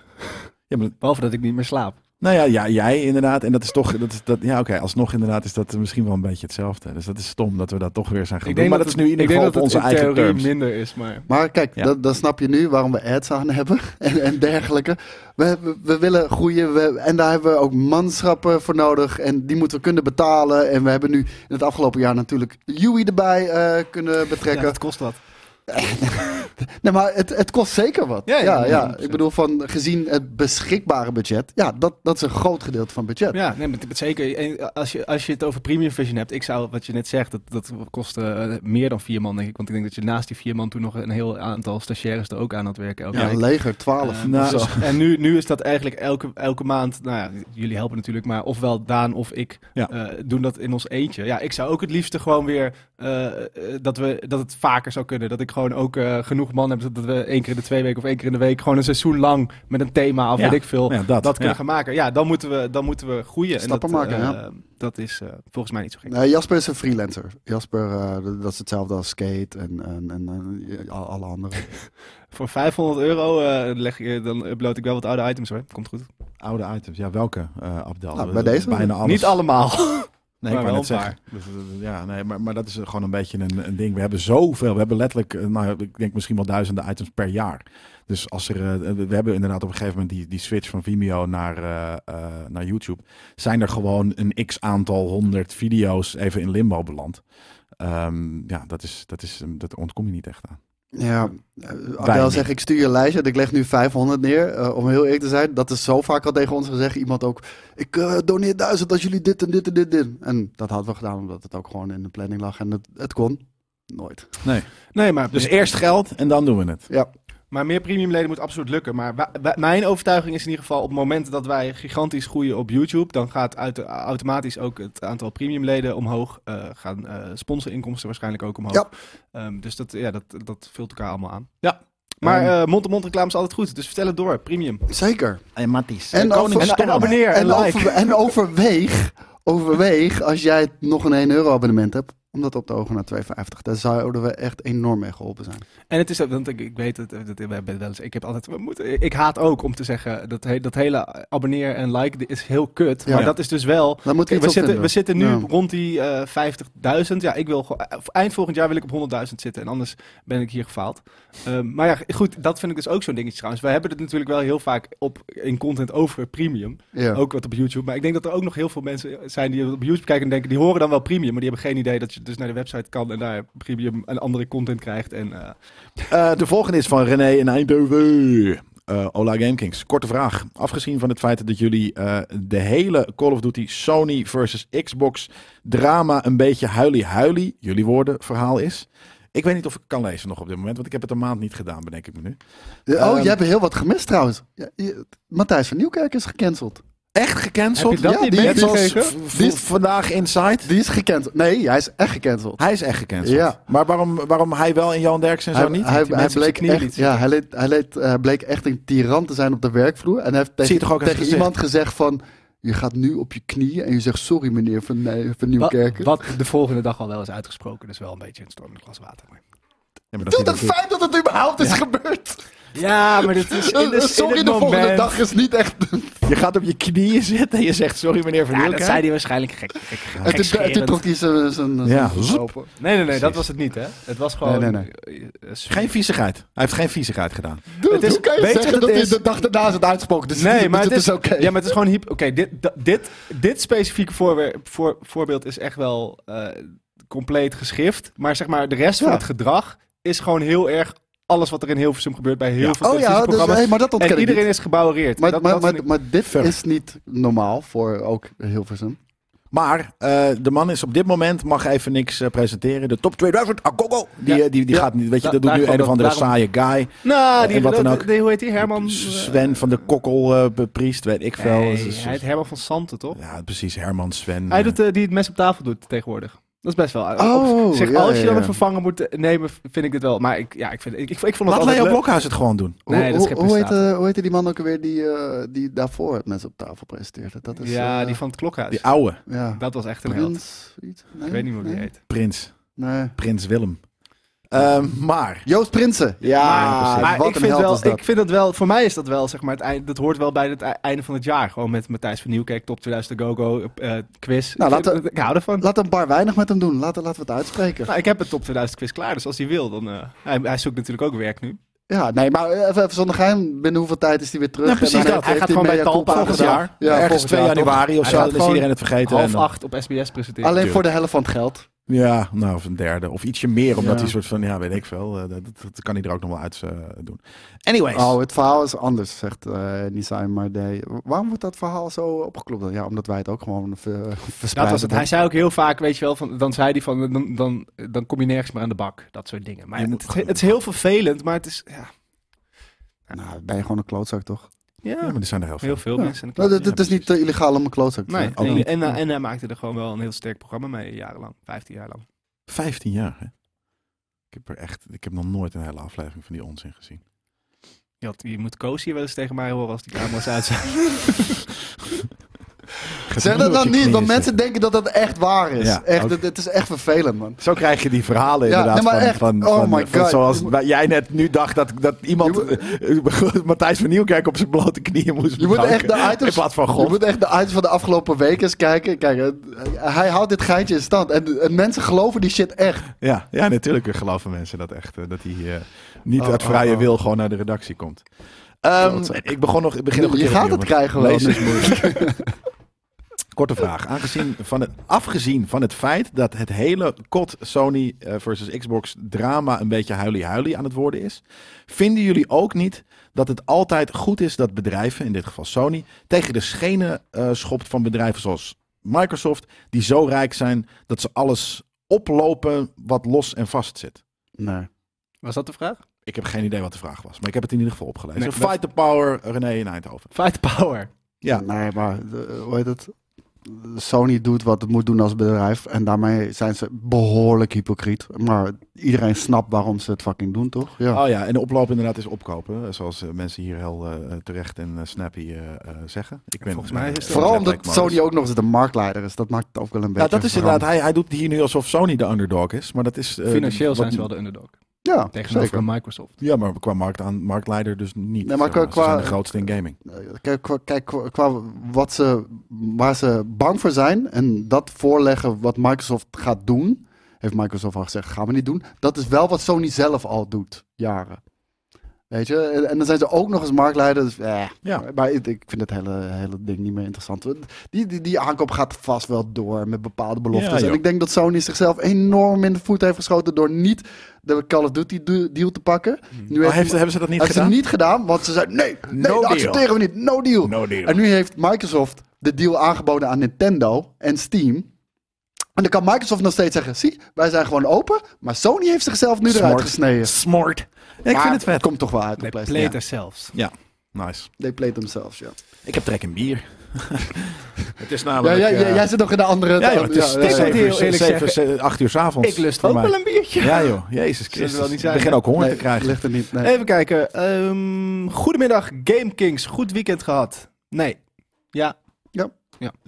A: ja, maar
B: Behalve dat ik niet meer slaap.
A: Nou ja, ja, jij inderdaad. En dat is toch, dat is, dat, ja oké, alsnog inderdaad is dat misschien wel een beetje hetzelfde. Dus dat is stom dat we dat toch weer zijn gaan doen. Maar dat is nu in ieder geval op onze eigen
B: theorie
A: terms.
B: minder is, maar...
C: Maar kijk,
A: Ja.
C: dan, dan snap je nu waarom we ads aan hebben *laughs* en, en dergelijke. We, we, we willen groeien we, en daar hebben we ook manschappen voor nodig. En die moeten we kunnen betalen. En we hebben nu in het afgelopen jaar natuurlijk Yui erbij eh, kunnen betrekken.
B: kost wat.
C: Nee, maar het, het kost zeker wat.
B: Ja,
C: Ja,
B: ja,
C: ja,
B: 100%.
C: ik bedoel, van, gezien het beschikbare budget. Ja, dat, dat is een groot gedeelte van het budget.
B: Ja, nee, maar t- zeker. En Als je, als je het over premium vision hebt, ik zou, wat je net zegt, dat, dat kostte eh, meer dan vier man, denk ik. Want ik denk dat je naast die vier man toen nog een heel aantal stagiaires er ook aan had werken. Elke
C: Ja,
B: week.
C: een leger, 12.
B: Eh,
C: of
A: nou,
C: zo.
B: dus- en nu, nu is dat eigenlijk elke, elke maand. Nou ja, jullie helpen natuurlijk, maar ofwel Daan of ik
A: Ja.
B: eh, doen dat in ons eentje. Ja, ik zou ook het liefste gewoon weer eh, eh, dat, we, dat het vaker zou kunnen. Dat ik gewoon ook eh, genoeg man heb. Dat we één keer in de twee weken of één keer in de week gewoon een seizoen lang met een thema of
A: Ja.
B: weet ik veel.
A: Ja, dat,
B: Dat kunnen
A: ja.
B: gaan maken. Ja, dan moeten we, dan moeten we groeien.
C: Stappen
B: en dat,
C: maken,
B: eh,
C: ja.
B: Dat is eh, volgens mij niet zo gek.
C: Nee, Jasper is een freelancer. Jasper, eh, dat- dat is hetzelfde als Skate en, en, en, en eh, alle andere.
B: Voor 500 euro eh, leg je, dan upload ik wel wat oude items hoor. Komt goed.
A: Oude items. Ja, welke, eh Abdel?
C: Nou, bij
A: Dat is
C: deze?
A: Bijna alles.
B: Niet allemaal. *laughs*
A: Nee, ik
B: maar
A: wou net
B: wel een
A: zeggen. Dus, eh, ja, nee, maar, maar dat is eh, gewoon een beetje een, een ding. We hebben zoveel. We hebben letterlijk, eh, nou, ik denk misschien wel duizenden items per jaar. Dus als er, eh, we hebben inderdaad op een gegeven moment die, die switch van Vimeo naar, eh, eh, naar YouTube. Zijn er gewoon een x aantal honderd video's even in limbo beland. Ehm, ja, dat, is, dat, is, ehm, dat ontkom je niet echt aan.
C: Ja, eh, Adel
A: Weinig.
C: zegt, ik stuur je een lijstje en ik leg nu 500 neer. Eh, om heel eerlijk te zijn, dat is zo vaak al tegen ons gezegd. Iemand ook, ik eh, doneer 1000 als jullie dit en dit en dit doen. En dat hadden we gedaan omdat het ook gewoon in de planning lag en het, het kon. Nooit.
B: Nee, maar
A: Dus eerst geld en dan doen we het.
B: Maar meer premium leden moet absoluut lukken. Maar wa- wa- mijn overtuiging is in ieder geval op het moment dat wij gigantisch groeien op YouTube, dan gaat uit automatisch ook het aantal premium leden omhoog. eh, gaan eh, sponsorinkomsten waarschijnlijk ook omhoog.
C: Ja.
B: Ehm, dus dat, ja, dat, dat vult elkaar allemaal aan.
A: Ja.
B: Maar
A: Ehm.
B: eh, mond-to-mond reclame is altijd goed. Dus vertel het door. Premium.
C: Zeker.
A: En Matties.
C: En over-
B: En, en abonneer en,
C: En,
B: like.
C: over- en overweeg, overweeg, als jij nog een 1 euro abonnement hebt, om dat op te ogen naar 2,50. Daar zouden we echt enorm mee geholpen zijn.
B: En het is ook, want ik, ik weet het, eh, dat, we hebben wel eens, ik heb altijd, we moeten, ik haat ook om te zeggen, dat, he- dat hele abonneer en like dit is heel kut.
C: Ja.
B: Maar dat is dus wel
C: Daar moeten
B: Kijk,
C: we
B: we,
C: iets op
B: zitten, we
C: vinden.
B: zitten nu
C: Ja.
B: rond die eh, 50.000. Ja, ik wil gewoon, eh, eind volgend jaar wil ik op 100.000 zitten. En anders ben ik hier gefaald. Ehm, maar ja, goed, dat vind ik dus ook zo'n dingetje trouwens. Wij hebben het natuurlijk wel heel vaak op, in content over premium.
C: Ja.
B: Ook wat op YouTube. Maar ik denk dat er ook nog heel veel mensen zijn die op YouTube kijken en denken, die horen dan wel premium. Maar die hebben geen idee dat je dus naar de website kan en daar premium en andere content krijgt. En, eh,
A: Eh, de volgende is van René in Eindhoven. Eh Ola Gamekings, korte vraag. Afgezien van het feit dat jullie eh, de hele Call of Duty Sony versus Xbox drama een beetje huilie-huilie, jullie woorden, verhaal is. Ik weet niet of ik kan lezen nog op dit moment, want ik heb het een maand niet gedaan, bedenk ik me nu.
C: Oh,
A: Ehm,
C: jij hebt heel wat gemist trouwens. Ja, je- Matthijs van Nieuwkerk is gecanceld.
A: Echt gecanceld?
B: Heb je dat
C: niet
A: Net zoals
B: meegekregen?
A: v- v- vandaag Inside.
C: Die is gecanceld. Nee, hij is echt gecanceld.
A: Hij is echt gecanceld.
C: Ja.
A: Maar waarom, waarom hij wel en Jan Derksen en zo niet?
C: Hij,
B: die
C: hij
B: mensen op
C: bleek,
B: zijn knieën
C: echt,
B: liet
C: ja, hij, leed, hij leed, eh, bleek echt een tiran te zijn op de werkvloer. En hij heeft
A: Zie je
C: tegen,
A: toch ook aan zijn
C: tegen iemand gezegd van... Je gaat nu op je knieën en je zegt sorry meneer van, nee, van Nieuwkerken.
B: Wat de volgende dag al wel is uitgesproken. Dus wel een beetje een storm in een glas water. Maar.
A: Ja, maar
C: Doe
A: hij
C: het
A: dat doet.
B: *laughs*
C: feit dat het überhaupt is gebeurd. Eh,
B: Ja, maar dit is *laughs* in de,
C: Sorry, de volgende dag is niet echt... *laughs*
A: Je gaat op je knieën zitten en je zegt sorry meneer Van
B: Ja,
A: Nieuwkerk.
B: dat zei hij waarschijnlijk gek. gek, gek
C: En toen- en toen
B: gekscherend.
C: trok hij zijn- zijn...
A: Ja,
C: zijn-
A: zoep.
C: open.
B: Nee, nee, nee, dat
A: Precies.
B: was het niet, hè? Het was gewoon...
A: Nee, nee,
B: eh, eh, s-
A: Geen viezigheid. Hij heeft geen viezigheid gedaan.
C: Dude,
B: Het is-
C: hoe kan je
B: weet je
C: zeggen
B: wat
C: dat
B: het
C: hij
B: is?
C: de dag daarna is het uitspoken? Dus
B: Nee, maar
C: het
B: het
C: is oké.
B: Ja, maar het is gewoon hyp. Oké, dit, da- dit, dit specifieke voorwer- voor, voorbeeld is echt wel eh, compleet geschift. Maar zeg maar, de rest van
C: Ja.
B: het gedrag is gewoon heel erg alles wat er in Hilversum gebeurt bij heel
A: Ja.
B: veel
C: Oh ja, dus,
B: televisieprogramma's.
C: hey, maar dat ontken
B: en
C: ik
B: iedereen
C: niet.
B: is gebouwereerd.
C: Maar,
B: dat,
C: maar,
B: dat
C: maar,
B: vind ik-
C: maar dit
A: Verder.
C: is niet normaal voor ook Hilversum.
A: Maar eh, de man is op dit moment, mag even niks eh, presenteren. De top 2000, Agogo, die,
B: Ja.
A: eh, die, die
B: Ja.
A: gaat niet. Weet je,
B: Da-
A: dat doet
B: daar
A: nu
B: kwam
A: een of
B: dat-
A: andere
B: daarom-
A: saaie guy.
B: nou,
A: en
B: die,
A: wat dan
B: dat-
A: ook.
B: die- hoe heet die? Herman? eh,
A: Sven van de Kokkel eh, bepriest, weet ik veel.
B: nee,
A: Het is-
B: hij heet Herman van Santen, toch?
A: ja, precies, Herman, Sven.
B: Hij
A: eh,
B: doet, eh, die het mes op tafel doet tegenwoordig. Dat is best wel.
C: Oh,
B: op- zeg,
C: ja,
B: als je
C: ja,
B: dan
C: ja.
B: een vervanger moet eh, nemen, vind ik dit wel. Maar ik, ja, ik, vind, ik, ik, ik vond het
A: Laat
B: altijd
A: Leo
B: leuk.
A: Blokhuis het gewoon doen.
C: Hoe,
B: Nee, dat is
C: hoe,
B: geen
C: hoe, heette,
B: prestatie.
C: hoe heette die man ook alweer die, eh, die daarvoor het mensen op tafel presenteerde? Dat is,
B: ja,
C: eh,
B: die van het klokhuis.
A: Die oude
C: ja.
B: dat was echt een held.
C: Prins, iets? Nee,
B: Ik weet niet hoe die
C: nee?
B: heet.
A: prins,
C: Nee.
A: prins Willem. Ehm, maar,
C: Joost Prinsen. Ja,
A: Maar-
B: Maar
C: Ah, wat
B: ik
C: een
B: vind,
C: held is
B: wel,
C: dat.
B: ik vind dat wel, voor mij is dat wel, zeg maar, het eind, dat hoort wel bij het ei- einde van het jaar. Gewoon met Matthijs van Nieuwkerk, Top 2000 GoGo, eh quiz.
C: Nou,
B: ik,
C: laten-
B: vind- ik hou ervan.
C: Laat een bar weinig met hem doen. Laten, laten we het uitspreken.
B: Nou, ik heb het Top 2000 quiz klaar, dus als hij wil, dan... eh, hij, hij zoekt natuurlijk ook werk nu.
C: Ja, nee, maar even, even zonder geheim. Binnen hoeveel tijd is hij weer terug?
A: Nou, precies
C: En dan
A: dat.
C: heeft
B: Hij gaat gewoon
C: mea
B: bij Talpa
C: culpa
A: volgend
C: gedaan.
A: jaar,
C: Ja,
A: ergens
C: volgend
A: 2
C: jaar, toch?
A: januari of
B: Hij
A: zo,
B: gaat
A: dan is
B: gewoon
A: iedereen het vergeten. en
B: Half
A: dan-
B: acht op SBS presenteren.
C: Alleen voor de helft van het geld.
A: Ja, nou, of een derde. Of ietsje meer, omdat
C: Ja.
A: hij soort van, ja, weet ik veel. eh, dat, dat- dat kan hij er ook nog wel uit eh, doen. Anyways.
C: Oh, het verhaal is anders, zegt eh Nissan Mardé. Waarom wordt dat verhaal zo opgeklopt? dan? Ja, omdat wij het ook gewoon ver,
B: Dat
C: *laughs* verspreiden.
B: was het. Hij zei ook heel vaak, weet je wel, van, dan zei hij van, dan, dan, dan kom je nergens meer aan de bak. Dat soort dingen. Maar
A: Je
B: het,
A: moet
B: het, is heel vervelend, maar het is, ja,
C: Nou, ben je gewoon een klootzak, toch?
A: Ja, maar er zijn er heel veel.
B: heel veel
C: Ja.
B: mensen. aan de
C: Nou,
B: kant.
C: dat, dat is niet eh, illegaal om een klootzak te
B: Nee,
C: zijn.
A: ook
B: en,
A: niet.
B: en, eh, en hij maakte er gewoon wel een heel sterk programma mee, jarenlang. 15 jaar lang.
A: 15 jaar, hè? Ik heb er echt, ik heb nog nooit een hele aflevering van die onzin gezien.
B: Je, had, je moet Koos hier wel eens tegen mij horen als die camera's uit zijn.
C: Zeg dat dan niet, want mensen denken dat dat echt waar is.
A: Ja,
C: echt,
A: ook.
C: het, het is echt vervelend, man.
A: Zo krijg je die verhalen
C: Ja,
A: inderdaad.
C: nee, maar
A: van,
C: echt.
A: Van,
C: Oh
A: van-
C: my
A: van
C: God.
A: zoals
C: Je moet-
A: waar jij net nu dacht dat, dat iemand
C: Je
A: eh, *laughs* Matthijs van Nieuwkerk op zijn blote knieën moest
C: Je moet
A: bedanken.
C: echt de
A: In
C: items...
A: plaats van
C: Je
A: God.
C: moet echt de items van de afgelopen weken eens kijken. Kijk, eh, hij houdt dit geintje in stand. En, en mensen geloven die shit echt.
A: Ja, ja, natuurlijk geloven mensen dat echt. eh, Dat hij eh, niet
C: Oh,
A: uit
C: oh,
A: vrije
C: oh.
A: wil gewoon naar de redactie komt. Ehm,
C: Klootzak.
A: ik begon nog. Ik begin nog een
C: je
A: keer
C: gaat
A: opnieuw,
C: het
A: want
C: krijgen wel.
A: lezen
C: nu.
A: is moeilijk. Korte vraag. Aangezien van het, afgezien van het feit dat het hele kot Sony eh, versus Xbox drama een beetje huilie-huilie aan het worden is, vinden jullie ook niet dat het altijd goed is dat bedrijven, in dit geval Sony, tegen de schenen eh, schopt van bedrijven zoals Microsoft, die zo rijk zijn dat ze alles oplopen wat los en vast zit?
C: *laughs* Nee.
B: *laughs* Was dat de vraag?
A: Ik heb geen idee wat de vraag was, maar ik heb het in ieder geval opgelezen.
B: Nee,
A: Fight the Power, René in Eindhoven.
B: Fight
C: Eh,
B: power.
A: Ja.
C: Nee, maar eh, hoe heet het? Sony doet wat het moet doen als bedrijf. En daarmee zijn ze behoorlijk hypocriet. Maar iedereen snapt waarom ze het fucking doen, toch? Ja.
A: Oh ja, en de oploop inderdaad is opkopen. eh, Zoals eh, mensen hier heel eh, terecht en eh, snappy eh, eh, zeggen. Ik ben,
B: Volgens mij is het-
C: Vooral omdat Sony
A: ook.
C: ook nog eens de marktleider is. Dat maakt het ook wel een beetje...
A: Ja, dat is
C: verwarrend.
A: inderdaad. Hij, hij doet hier nu alsof Sony de underdog is. Maar dat is. eh,
B: Financieel
A: wat-
B: zijn ze wel de underdog.
C: Ja,
B: Tegenover
C: Ah, zeker.
B: Microsoft.
A: Ja, maar qua markt aan, marktleider dus niet.
C: Nee, maar
A: zeg
C: qua-
A: Ze zijn de
C: qua-
A: grootste in gaming.
C: Kijk, qua, kijk qua, qua wat ze, waar ze bang voor zijn en dat voorleggen wat Microsoft gaat doen, heeft Microsoft al gezegd, gaan we niet doen. Dat is wel wat Sony zelf al doet, jaren. Weet je, en, en dan zijn ze ook nog eens marktleider. Dus, eh.
A: Ja.
C: Maar ik, ik vind het hele, hele ding niet meer interessant. Die, die, die aankoop gaat vast wel door met bepaalde
A: Ja,
C: beloftes.
A: joh.
C: en ik denk dat Sony zichzelf enorm in de voet heeft geschoten door niet de Call of Duty do- deal te pakken. Nu
A: Oh, heeft, hebben ze dat niet
C: hebben ze
A: gedaan?
C: niet gedaan, want ze zeiden nee, nee
A: No
C: dat
A: deal.
C: accepteren we niet. No deal.
A: No deal.
C: En nu heeft Microsoft de deal aangeboden aan Nintendo en Steam. En dan kan Microsoft nog steeds zeggen, zie, wij zijn gewoon open. Maar Sony heeft zichzelf nu eruit
A: Smart.
C: gesneden.
A: Smart. Ja, ik
C: Maar
A: vind het vet.
C: komt toch wel uit op
B: They
C: PlayStation.
B: played zelfs.
A: Nice.
C: Ja, they played themselves, ja.
A: Ik heb trek in bier. *laughs* het is
C: Ja,
A: namelijk.
C: jij, jij-
A: eh,
C: jij zit nog in de andere...
A: ja, joh, het is
B: ja.
A: zeven
B: Ik
A: uur,
B: moet heel eerlijk
A: zeven, zeven, acht uur s'avonds.
B: Ik lust ook wel een biertje.
A: Ja joh, Jezus
B: Zullen we
A: Christus.
B: wel niet zijn,
A: ik begin
B: hè?
A: ook honger
C: Nee,
A: te krijgen.
C: ligt er niet, nee.
B: Even kijken. ehm, goedemiddag Game Kings. Goed weekend gehad. Nee. Ja,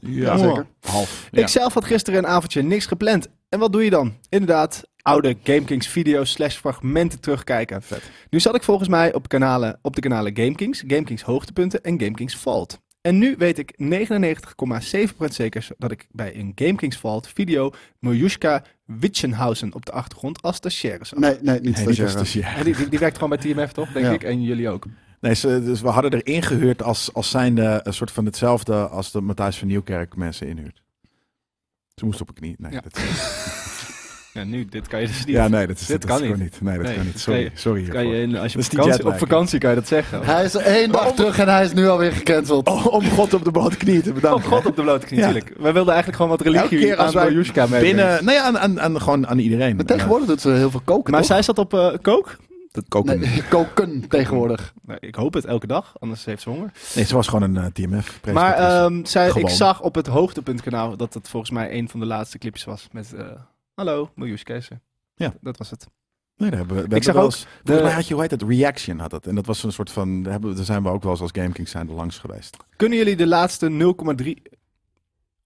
A: Ja,
C: zeker.
A: Half.
B: Ik zelf had gisteren een avondje niks gepland. En wat doe je dan? Inderdaad, oude GameKings video's slash fragmenten terugkijken.
A: Vet.
B: Nu zat ik volgens mij op, kanalen, op de kanalen GameKings, GameKings Hoogtepunten en GameKings Vault. En nu weet ik 99,7% zeker dat ik bij een GameKings Vault video Miljuska Witchenhausen op de achtergrond als stagiaire zag.
C: Nee, nee, niet
A: Nee, dus, niet als
C: stagiaire.
A: stagiair.
B: dus En die, die, die werkt gewoon bij TMF toch, denk
C: Ja.
B: ik? En jullie ook.
A: Nee, ze, dus we hadden er ingehuurd als, als zijnde een soort van hetzelfde als de Matthijs van Nieuwkerk mensen inhuurt. Ze moest op een knie. Nee,
B: Ja.
A: dat is,
B: Ja, nu, dit kan je dus niet.
A: ja, nee, dat, is,
B: Dit
A: dat
B: kan
A: is gewoon niet. Nee, dat
B: Nee,
A: kan
B: dat
A: niet. Sorry,
B: kan
A: sorry
B: Kan
A: hiervoor.
B: je in- als
A: Dat
B: je op
A: is die
B: vakantie, op
A: jetlag,
B: vakantie kan je dat zeggen.
C: Hij is er één dag
B: Waarom?
C: terug en hij is nu alweer gecanceld.
A: dus. Oh, om God op de blote knie te
B: Oh
A: bedanken.
B: god, op de blote knie
A: Ja.
B: natuurlijk. Wij wilden eigenlijk gewoon wat
A: Elke
B: religie
A: keer als
B: aan
A: wij
B: Miljuska mee.
A: Binnen, nou ja, aan, aan, aan, gewoon aan iedereen.
C: Maar tegenwoordig doet ze heel veel koken,
B: Maar
C: toch?
B: zij zat op eh kook?
A: Dat koken. Nee.
C: Nee, koken tegenwoordig.
B: Nou, ik hoop het elke dag, anders heeft ze honger.
A: ze was gewoon een eh, TMF.
B: Maar ehm, zij, ik
A: Gewoon.
B: zag op het hoogtepuntkanaal dat het volgens mij een van de laatste clipjes was met... eh, Hallo, Miljuska is er.
A: Ja.
B: Dat was het.
A: Nee, daar hebben we, we
B: Ik zag
A: hebben wel
B: ook
A: eens-
B: de-
A: Volgens mij had je, hoe heet het, Reaction had dat. En dat was een soort van, daar, hebben, we- daar zijn we ook wel eens als GameKings zijn er langs geweest.
B: Kunnen jullie de laatste 0,3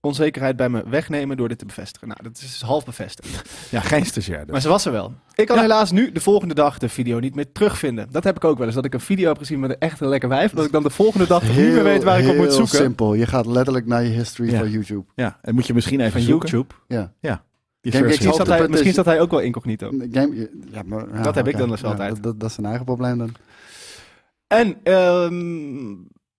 B: onzekerheid bij me wegnemen door dit te bevestigen? Nou, dat is half bevestigd.
A: Ja, geen stagiair. dus.
B: Maar ze was er wel. Ik kan
A: Ja.
B: helaas nu de volgende dag de video niet meer terugvinden. Dat heb ik ook wel eens. Dat ik een video heb gezien met een echte lekker wijf. Dat ik dan de volgende dag toch niet meer weet waar ik op moet
C: heel
B: zoeken.
C: simpel. Je gaat letterlijk naar je history
A: Ja.
C: van YouTube.
A: Ja, en moet je misschien even
B: Van
A: zoeken.
B: YouTube.
C: Ja.
A: Die
C: Game
A: versie.
B: Misschien
C: Hetzelfde
B: zat, hij,
C: punt
B: misschien
C: is-
B: zat hij ook wel incognito.
C: Game, ja, maar, ja,
B: Dat heb ik
C: oké.
B: dan dus altijd.
C: dat- Dat, dat is zijn eigen probleem dan.
B: En ehm,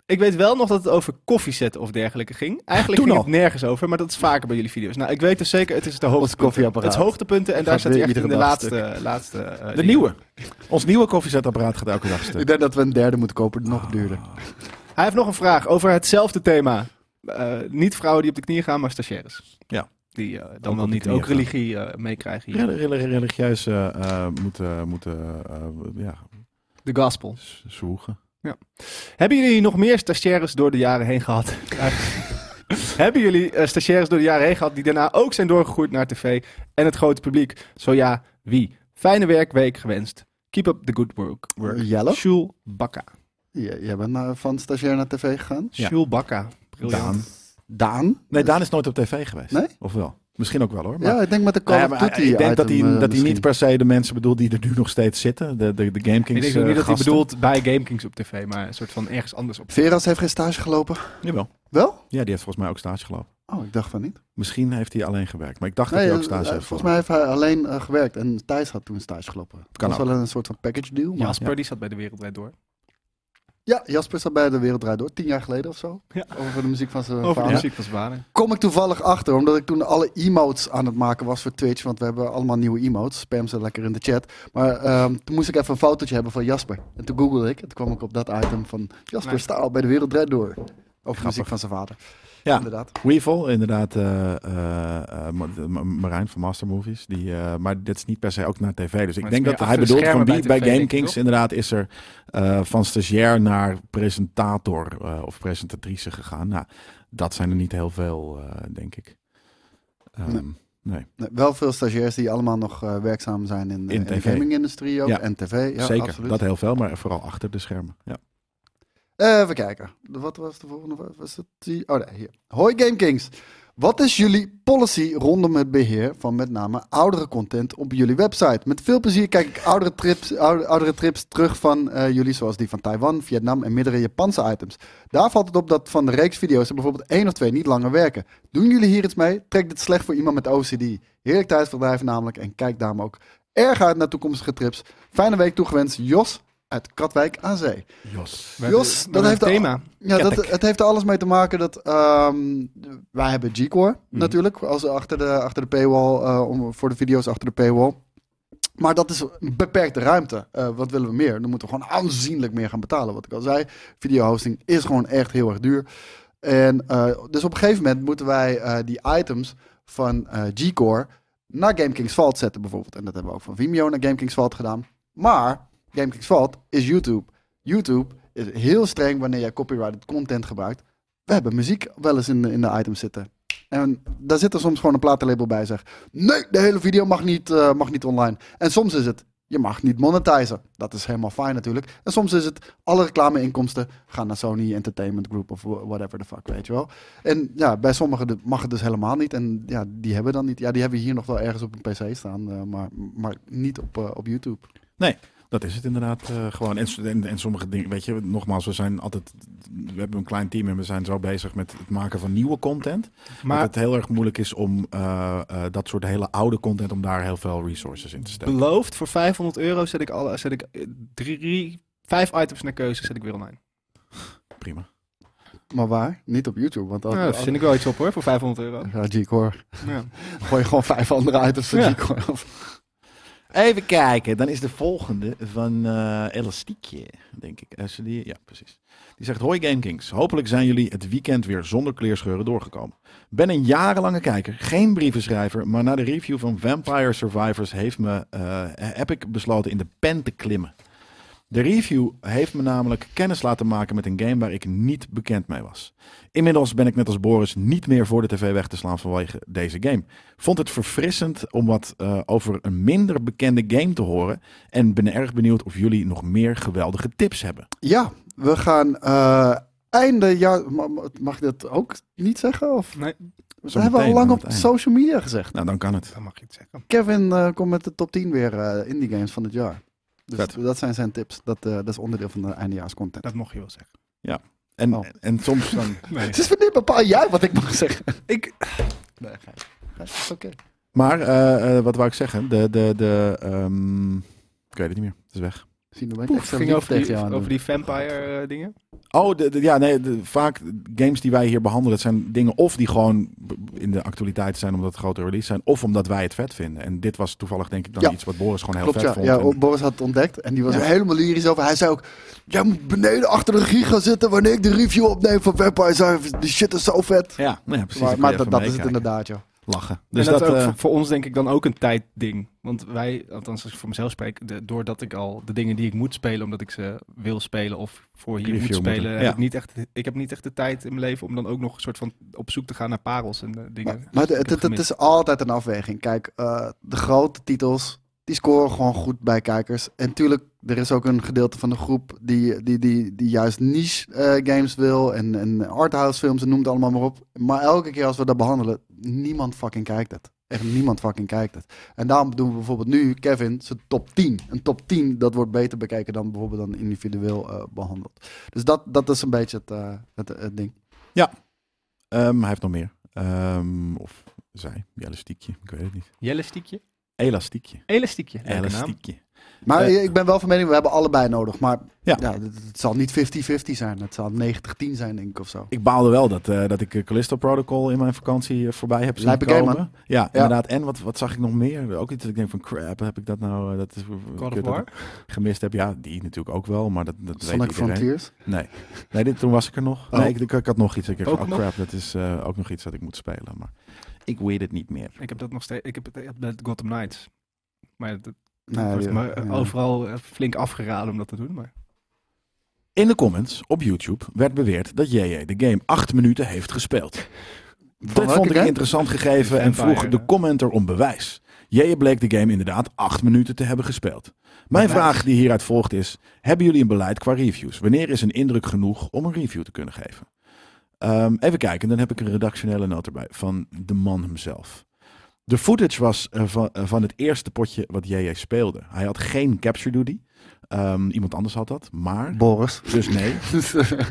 B: ik weet wel nog dat het over koffiezetten of dergelijke ging. Eigenlijk
A: Toen
B: ging
A: al.
B: het nergens over, maar dat is vaker bij jullie video's. Nou, ik weet dus zeker, het is de hoogtepunten.
C: koffieapparaat.
B: Het is hoogtepunten en daar
C: Gaat
B: staat hij
C: weer
B: echt in de
C: iedere dag
B: laatste... laatste eh,
A: De
B: dingen.
A: nieuwe. Ons nieuwe koffiezetapparaat gaat elke dag
C: Ik
A: stuk.
C: denk dat we een derde moeten kopen,
A: Ah,
C: nog duurder.
B: Hij heeft nog een vraag over hetzelfde thema. Eh, niet vrouwen die op de knieën gaan, maar stagiaires.
A: Ja.
B: Die eh,
A: op
B: dan wel
A: de
B: niet
A: knieën
B: ook religie eh, meekrijgen hier.
A: Rel- rel- Religieus eh, eh, moeten, moeten eh, ja,
B: De gospel.
A: z- zwoegen.
B: Hebben jullie nog meer stagiaires door de jaren heen gehad?
A: *laughs*
B: Hebben jullie eh, stagiaires door de jaren heen gehad die daarna ook zijn doorgegroeid naar tv en het grote publiek? Zo ja, wie? Fijne werkweek gewenst. Keep up the good work. work.
C: Jelle?
B: Sjoel Bakka.
C: J- jij bent naar- van stagiair naar tv gegaan?
A: Ja.
B: Sjoel Bakka. Briljant.
A: Daan.
C: Daan?
A: Nee, Daan is nooit op tv geweest.
C: Nee?
A: Of wel? Misschien ook wel hoor. Maar,
C: Ja, ik denk met de Call
A: Nou ja,
C: of
A: maar
C: Duty
A: ik denk dat hij,
C: item, eh,
A: dat hij niet
C: misschien.
A: per se de mensen bedoelt die er nu nog steeds zitten. De, de, de
B: Ik
A: GameKings
B: denk ook niet
A: eh,
B: dat hij
A: gasten.
B: bedoelt bij GameKings op tv, maar een soort van ergens anders op.
C: Veras heeft geen stage gelopen.
A: Jawel.
C: Wel?
A: Ja, die heeft volgens mij ook stage gelopen.
C: Oh, ik dacht van niet.
A: Misschien heeft hij alleen gewerkt. Maar ik dacht dat
C: Nee,
A: hij ook
C: eh,
A: stage
C: eh,
A: heeft
C: volgens mij heeft hij alleen eh, gewerkt en Thijs had toen stage gelopen. Het
A: Kan
C: was
A: ook.
C: wel een soort van package deal. Maar...
B: Jasper, die zat bij de Wereldwijd Door.
C: Ja, Jasper zat bij de Wereld Draait Door, tien jaar geleden of zo.
B: Ja.
C: Over de muziek van zijn
B: Over de
C: vader.
B: muziek van zijn vader.
C: Kom ik toevallig achter, omdat ik toen alle emotes aan het maken was voor Twitch. Want we hebben allemaal nieuwe emotes. Spam ze lekker in de chat. Maar ehm, toen moest ik even een fotootje hebben van Jasper. En toen googelde ik. En toen kwam ik op dat item van Jasper
B: Nice.
C: Staal bij de Wereld Draait Door. Over de muziek van zijn vader.
A: Ja.
C: Inderdaad.
A: Weevil, inderdaad, eh, eh, eh, Ma- Ma- Marijn van Master Movies. Die, eh, maar dit is niet per se ook naar tv. Dus ik
B: is
A: denk
B: meer
A: dat hij
B: achter de
A: bedoelt van
B: schermen
A: wie bij
B: bij TV, denk ik,
A: GameKings
B: toch?
A: inderdaad is er eh, van stagiair naar presentator eh, of presentatrice gegaan. Nou, dat zijn er niet heel veel, eh, denk ik. Ehm,
C: Nee. Nee, wel veel stagiairs die allemaal nog eh, werkzaam zijn in, eh,
A: In
C: in de
A: TV.
C: gaming-industrie ook.
A: Ja.
C: En tv, ja,
A: Zeker,
C: absoluut.
A: dat heel veel, maar vooral achter de schermen. Ja.
C: Eh, Even kijken. De- Wat was de volgende? Wat Was het die? Oh nee, hier. Hoi GameKings. Wat is jullie policy rondom het beheer van met name oudere content op jullie website? Met veel plezier kijk ik oudere trips, oude- oudere trips terug van eh, jullie, zoals die van Taiwan, Vietnam en meerdere Japanse items. Daar valt het op dat van de reeks video's er bijvoorbeeld één of twee niet langer werken. Doen jullie hier iets mee? Trek dit slecht voor iemand met OCD. Heerlijk tijdverdrijf namelijk en kijk daarom ook erg uit naar toekomstige trips. Fijne week toegewenst, Jos uit Katwijk aan Zee.
A: Jos.
B: We
C: Jos,
B: hebben- we hebben
C: dat heeft
B: een
C: al-
B: thema.
C: Ja,
A: Ketek.
C: dat, het heeft er alles mee te maken dat ehm, wij hebben G-Core natuurlijk, als achter de, achter de paywall, eh, om, voor de video's achter de paywall. Maar dat is een beperkte ruimte. Eh, wat willen we meer? Dan moeten we gewoon aanzienlijk meer gaan betalen. Wat ik al zei, videohosting is gewoon echt heel erg duur. En eh, dus op een gegeven moment moeten wij eh, die items van eh, G-Core naar GameKings Vault zetten bijvoorbeeld. En dat hebben we ook van Vimeo naar GameKings Vault gedaan. Maar GameKings Vault is YouTube. YouTube is heel streng wanneer jij copyrighted content gebruikt. We hebben muziek wel eens in de, in de items zitten. En daar zit er soms gewoon een platenlabel bij, zeg. Nee, de hele video mag niet, eh, mag niet online. En soms is het, Je mag niet monetizen. Dat is helemaal fijn natuurlijk. En soms is het, alle reclameinkomsten gaan naar Sony Entertainment Group of wha- whatever the fuck, weet je wel. En ja, bij sommigen de- mag het dus helemaal niet. En ja, die hebben dan niet. Ja, die hebben hier nog wel ergens op een PC staan, eh, maar, maar niet op, eh, op YouTube.
A: Dat is het inderdaad eh, gewoon. En, s- en, en sommige dingen, weet je, nogmaals, we zijn altijd, we hebben een klein team en we zijn zo bezig met het maken van nieuwe content. Maar
B: Maar
A: dat het heel erg moeilijk is om eh, eh, dat soort hele oude content, om daar heel veel resources in te steken.
B: beloofd, voor 500 euro zet ik, alle, zet ik eh, drie, vijf items naar keuze zet ik weer online.
A: Prima.
C: Maar waar? Niet op YouTube. Want als,
B: Nou, daar
C: als-
B: verzin ik wel iets op hoor, voor 500 euro.
C: Ja, G-Core.
B: Ja.
C: Gooi gewoon vijf andere items van
B: Ja.
C: G-Core af.
A: Even kijken, dan is de volgende van eh, Elastiekje, denk ik. Als je die, ja, precies. Die zegt, hoi Game Kings, hopelijk zijn jullie het weekend weer zonder kleerscheuren doorgekomen. Ben een jarenlange kijker, geen brievenschrijver, maar na de review van Vampire Survivors heeft me, eh, heb ik besloten in de pen te klimmen. De review heeft me namelijk kennis laten maken met een game waar ik niet bekend mee was. Inmiddels ben ik net als Boris niet meer voor de tv weg te slaan vanwege deze game. Vond het verfrissend om wat eh, over een minder bekende game te horen. En ben erg benieuwd of jullie nog meer geweldige tips hebben.
C: Ja, we gaan eh, einde jaar. ma- ma- Mag ik dat ook niet zeggen? Of?
B: Nee,
C: Dat
A: Zometeen
C: hebben we al lang
A: aan
C: op
A: het einde.
C: social media gezegd.
A: Nou, dan kan het.
B: dat mag je het zeggen.
C: Kevin eh, komt met de top 10 weer eh, indie games van het jaar. Dus
A: Vet.
C: dat zijn zijn tips. Dat, eh, dat is onderdeel van de eindejaarscontent.
B: Dat mocht je wel zeggen.
A: En,
C: Oh.
A: en soms
C: *laughs*
A: dan...
B: Nee.
C: Het is van nu bepaal jij wat ik mag zeggen.
B: ik,
C: Nee, gein. Gein, is Oké.
A: Maar eh, eh, wat wou ik zeggen? De, de, de, ehm, ik weet het niet meer. Het is weg.
C: Zien we
B: poef, ging over
C: tegen
B: die,
C: jou aan
B: over
C: doen.
B: die vampire eh, dingen.
A: Oh, de, de- ja, nee, de- vaak games die wij hier behandelen, dat zijn dingen of die gewoon b- in de actualiteit zijn omdat het grote release zijn, of omdat wij het vet vinden. En dit was toevallig denk ik dan
C: Ja.
A: iets wat Boris gewoon heel
C: Klopt,
A: vet
C: ja.
A: vond.
C: ja
A: En-
C: Boris had het ontdekt en die was
A: Ja.
C: er helemaal lyrisch over. Hij zei ook, jij moet beneden achter de regie gaan zitten wanneer ik de review opneem van Vampire Survivors. Die shit is zo vet.
A: ja, nou ja, precies.
C: maar
A: dan
C: maar
A: kun je
C: dat, dat
A: even
C: is het
A: meekijken.
C: inderdaad, joh.
A: Lachen. Dus
B: en dat,
A: dat,
B: is ook
A: eh,
B: voor, voor ons denk ik dan ook een tijdding. Want wij, althans als ik voor mezelf spreek, de- doordat ik al de dingen die ik moet spelen, omdat ik ze wil spelen of voor hier
A: Review
B: moet spelen,
A: moeten,
B: heb
A: ja.
B: ik, niet echt, ik heb niet echt de tijd in mijn leven om dan ook nog een soort van op zoek te gaan naar parels en eh, dingen.
C: Maar, maar
B: Dus ik
C: het,
B: heb
C: het, het is altijd een afweging. Kijk, eh, de grote titels, die scoren gewoon goed bij kijkers. En tuurlijk, er is ook een gedeelte van de groep die, die, die, die juist niche eh, games wil. En, en arthouse films en noem het allemaal maar op. Maar elke keer als we dat behandelen, niemand fucking kijkt het. Echt niemand fucking kijkt het. En daarom doen we bijvoorbeeld nu, Kevin, zijn top 10. Een top 10, dat wordt beter bekeken dan bijvoorbeeld dan individueel eh, behandeld. Dus dat, dat is een beetje het, eh, het, het ding.
A: ehm, hij heeft nog meer. Ehm, of zij, die elastiekje, ik weet het niet.
B: Jellestiekje?
A: Elastiekje.
B: Elastiekje. leuke naam.
A: Elastiekje.
C: Maar
A: Eh,
C: ik ben wel van mening, we hebben allebei nodig. Maar
A: Ja.
C: ja. het, het zal niet 50-50 zijn. Het zal 90-10 zijn, denk ik, of zo.
A: Ik baalde wel dat, eh, dat ik eh, Callisto Protocol in mijn vakantie eh, voorbij heb zien
C: Lijpe
A: komen.
C: game,
A: ja, inderdaad. En wat, wat zag ik nog meer? Ook iets dat ik denk van crap, heb ik dat nou eh, dat is,
B: God
A: kut
B: of
A: dat
B: War?
A: ik gemist heb? Ja, die natuurlijk ook wel, maar dat, dat weet
C: Sonic
A: iedereen.
C: Frontiers.
A: Nee, nee dit, toen was ik er nog.
C: Oh.
A: Nee, ik, ik, ik had nog iets. Ik dacht, oh
B: Pokémon?
A: crap, dat is eh, ook nog iets dat ik moet spelen. Maar ik weet het niet meer.
B: Ik heb dat nog steeds, ik heb het ik heb met Gotham Knights. Maar dat- dat
C: Nee,
B: wordt
C: ja,
B: me eh,
C: ja.
B: overal eh, flink afgeraden om dat te doen. Maar
A: In de comments op YouTube werd beweerd dat JJ de game acht minuten heeft gespeeld.
C: Van
A: Dat
C: welke
A: vond ik
C: game?
A: interessant gegeven en
B: Vampire,
A: vroeg de
B: hè?
A: commenter om bewijs. Jij bleek de game inderdaad acht minuten te hebben gespeeld. Mijn
B: Bewijs.
A: vraag die hieruit volgt is: hebben jullie een beleid qua reviews? Wanneer is een indruk genoeg om een review te kunnen geven? Ehm, even kijken, dan heb ik een redactionele noot erbij van de man hemzelf. De footage was eh, van, eh, van het eerste potje wat JJ speelde. Hij had geen capture duty. Ehm, iemand anders had dat, maar.
C: Boris.
A: Dus nee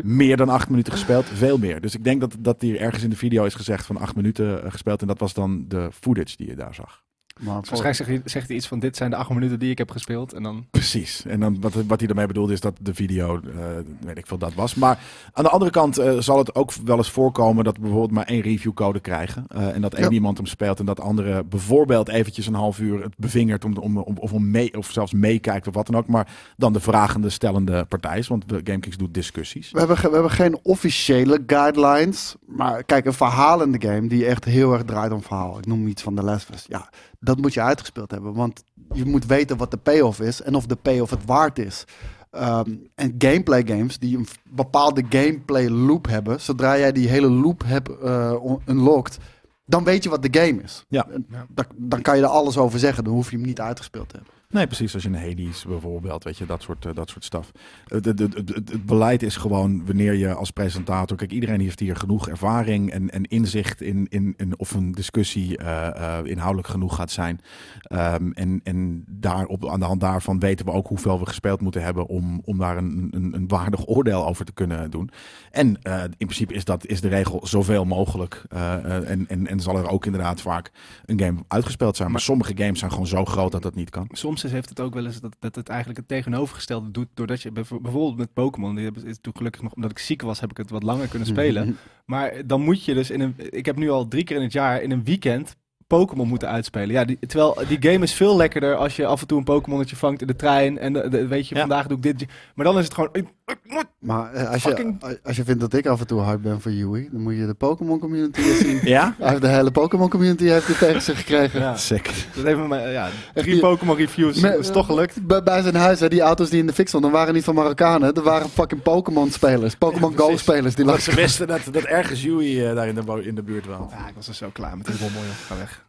A: meer dan acht minuten gespeeld. Veel meer. Dus ik denk dat, dat hier ergens in de video is gezegd van acht minuten eh, gespeeld. En dat was dan de footage die je daar zag.
C: maar
B: Dus
C: voor-
B: waarschijnlijk zegt hij, zegt hij iets van dit zijn de acht minuten die ik heb gespeeld. En dan
A: Precies. En dan, wat, wat hij daarmee bedoelde is dat de video, eh, weet ik veel, dat was. Maar aan de andere kant eh, zal het ook wel eens voorkomen dat we bijvoorbeeld maar één reviewcode krijgen. eh, en dat één
C: Ja.
A: iemand hem speelt en dat andere bijvoorbeeld eventjes een half uur het bevingert om, om, om- of, om mee, of zelfs meekijkt of wat dan ook. Maar dan de vragende, stellende partij is. Want GameKings doet discussies.
C: We hebben, ge- we hebben geen officiële guidelines. Maar kijk, een verhaal in de game die echt heel erg draait om verhaal. Ik noem iets van de Last of Us. Ja, dat moet je uitgespeeld hebben. Want je moet weten wat de payoff is en of de payoff het waard is. Ehm, en gameplay games die een v- bepaalde gameplay loop hebben. Zodra jij die hele loop hebt eh, on- unlocked, dan weet je wat de game is.
A: Ja.
C: En Dan, dan kan je er alles over zeggen. Dan hoef je hem niet uitgespeeld te hebben.
A: Nee, precies. Als je een Hades bijvoorbeeld, weet je, dat soort, eh, dat soort staf. Het, het, het, het- het- het beleid is gewoon wanneer je als presentator... Kijk, iedereen heeft hier genoeg ervaring en, en inzicht in, in, in of een discussie eh, eh, inhoudelijk genoeg gaat zijn. Ehm, en en daarop, aan de hand daarvan weten we ook hoeveel we gespeeld moeten hebben... om, om daar een, een, een waardig oordeel over te kunnen doen. En eh, in principe is, dat, is de regel zoveel mogelijk. eh, eh, en, en, en zal er ook inderdaad vaak een game uitgespeeld zijn. Maar sommige games zijn gewoon zo groot dat dat niet kan.
B: Soms is- heeft het ook wel eens dat, dat het eigenlijk het tegenovergestelde doet. Doordat je bijv- bijvoorbeeld met Pokémon, die hebben, is toen gelukkig nog omdat ik ziek was, heb ik het wat langer kunnen
C: Mhm.
B: spelen. Maar dan moet je dus in een. Ik heb nu al drie keer in het jaar in een weekend Pokémon moeten uitspelen. Ja, die, terwijl die game is veel lekkerder als je af en toe een Pokémonnetje vangt in de trein. En de- de- weet je,
A: Ja.
B: vandaag doe ik dit. Maar dan is het gewoon. ik- ik moet-
C: Maar eh, als,
B: Fucking-
C: je, als je vindt dat ik af en toe hard ben voor Yui, dan moet je de Pokémon community eens zien.
A: Ja?
C: Hij heeft de hele Pokémon community heeft dit tegen zich gekregen.
B: Ja,
A: Sick.
B: dat heeft me. maar- Ja, drie
C: die-
B: Pokémon reviews.
C: Me-
B: Dat is toch gelukt.
C: Bij, bij zijn huis, hè, die auto's die in de fik stonden, waren niet van Marokkanen. Er waren fucking Pokémon-spelers. Pokémon
A: Ja, precies.
C: Go-spelers die
A: Dat
C: langs
A: ze wisten dat, dat ergens Yui eh, daar in de, bo- in de buurt woont.
B: Ja, ik was er zo klaar met die rommel, joh. Ga weg.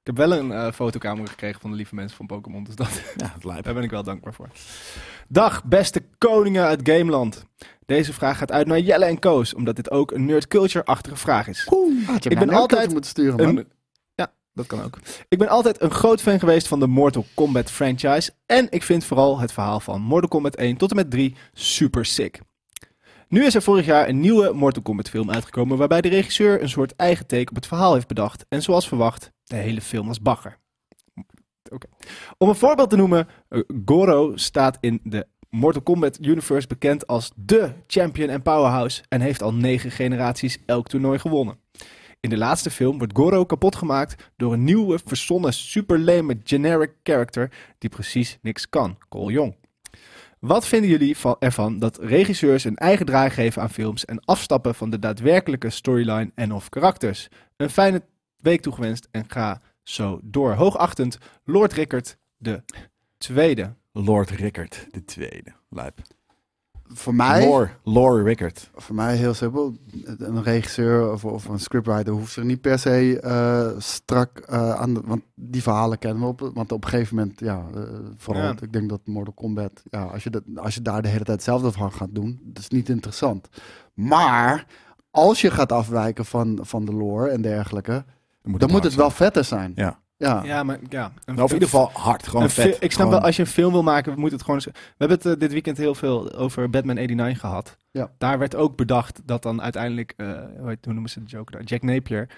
B: Ik heb wel een eh fotocamera gekregen van de lieve mensen van Pokémon. Dus dat, *laughs*
A: Ja, het lijkt.
B: Daar ben ik wel dankbaar voor. Dag, beste koningen uit Gameland. Deze vraag gaat uit naar Jelle en Koos, omdat dit ook een nerd culture-achtige vraag is.
C: ik ben altijd moeten sturen, man.
B: Een- ja, dat kan ook. Ik ben altijd een groot fan geweest van de Mortal Kombat franchise. En ik vind vooral het verhaal van Mortal Kombat 1 tot en met 3 super sick. Nu is er vorig jaar een nieuwe Mortal Kombat film uitgekomen waarbij de regisseur een soort eigen take op het verhaal heeft bedacht. En zoals verwacht, de hele film was bagger. Oké. Om een voorbeeld te noemen, eh, Goro staat in de Mortal Kombat universe bekend als de champion en powerhouse en heeft al negen generaties elk toernooi gewonnen. In de laatste film wordt Goro kapot gemaakt door een nieuwe, verzonnen, superlame generic character die precies niks kan, Cole Jong. Wat vinden jullie van, ervan dat regisseurs een eigen draai geven aan films en afstappen van de daadwerkelijke storyline en of karakters? Een fijne week toegewenst en ga zo door. Hoogachtend, Lord Rickert de tweede.
A: Lord Rickard, de tweede. Lijp.
C: Voor mij,
A: Lore, Lore Rickard.
C: voor mij heel simpel. Een regisseur of, of een scriptwriter hoeft zich niet per se eh, strak eh, aan de... Want die verhalen kennen we op. Want op een gegeven moment, ja, eh, vooral...
B: Ja.
C: Ik denk dat Mortal Kombat... Ja, als, je dat, als je daar de hele tijd hetzelfde van gaat doen, dat is niet interessant. Maar als je gaat afwijken van, van de lore en dergelijke... dan moet het wel vetter zijn.
A: Ja.
C: Ja.
B: Ja, maar ja. Een,
A: Nou, of in ieder geval hard, gewoon
B: Een fi-
A: vet.
B: Ik snap
A: Gewoon-
B: wel, als je een film wil maken, moet het gewoon... eens- We hebben het eh, dit weekend heel veel over Batman 89 gehad.
C: Ja.
B: Daar werd ook bedacht dat dan uiteindelijk, eh, hoe, heet- hoe noemen ze de Joker? nou? Jack Napier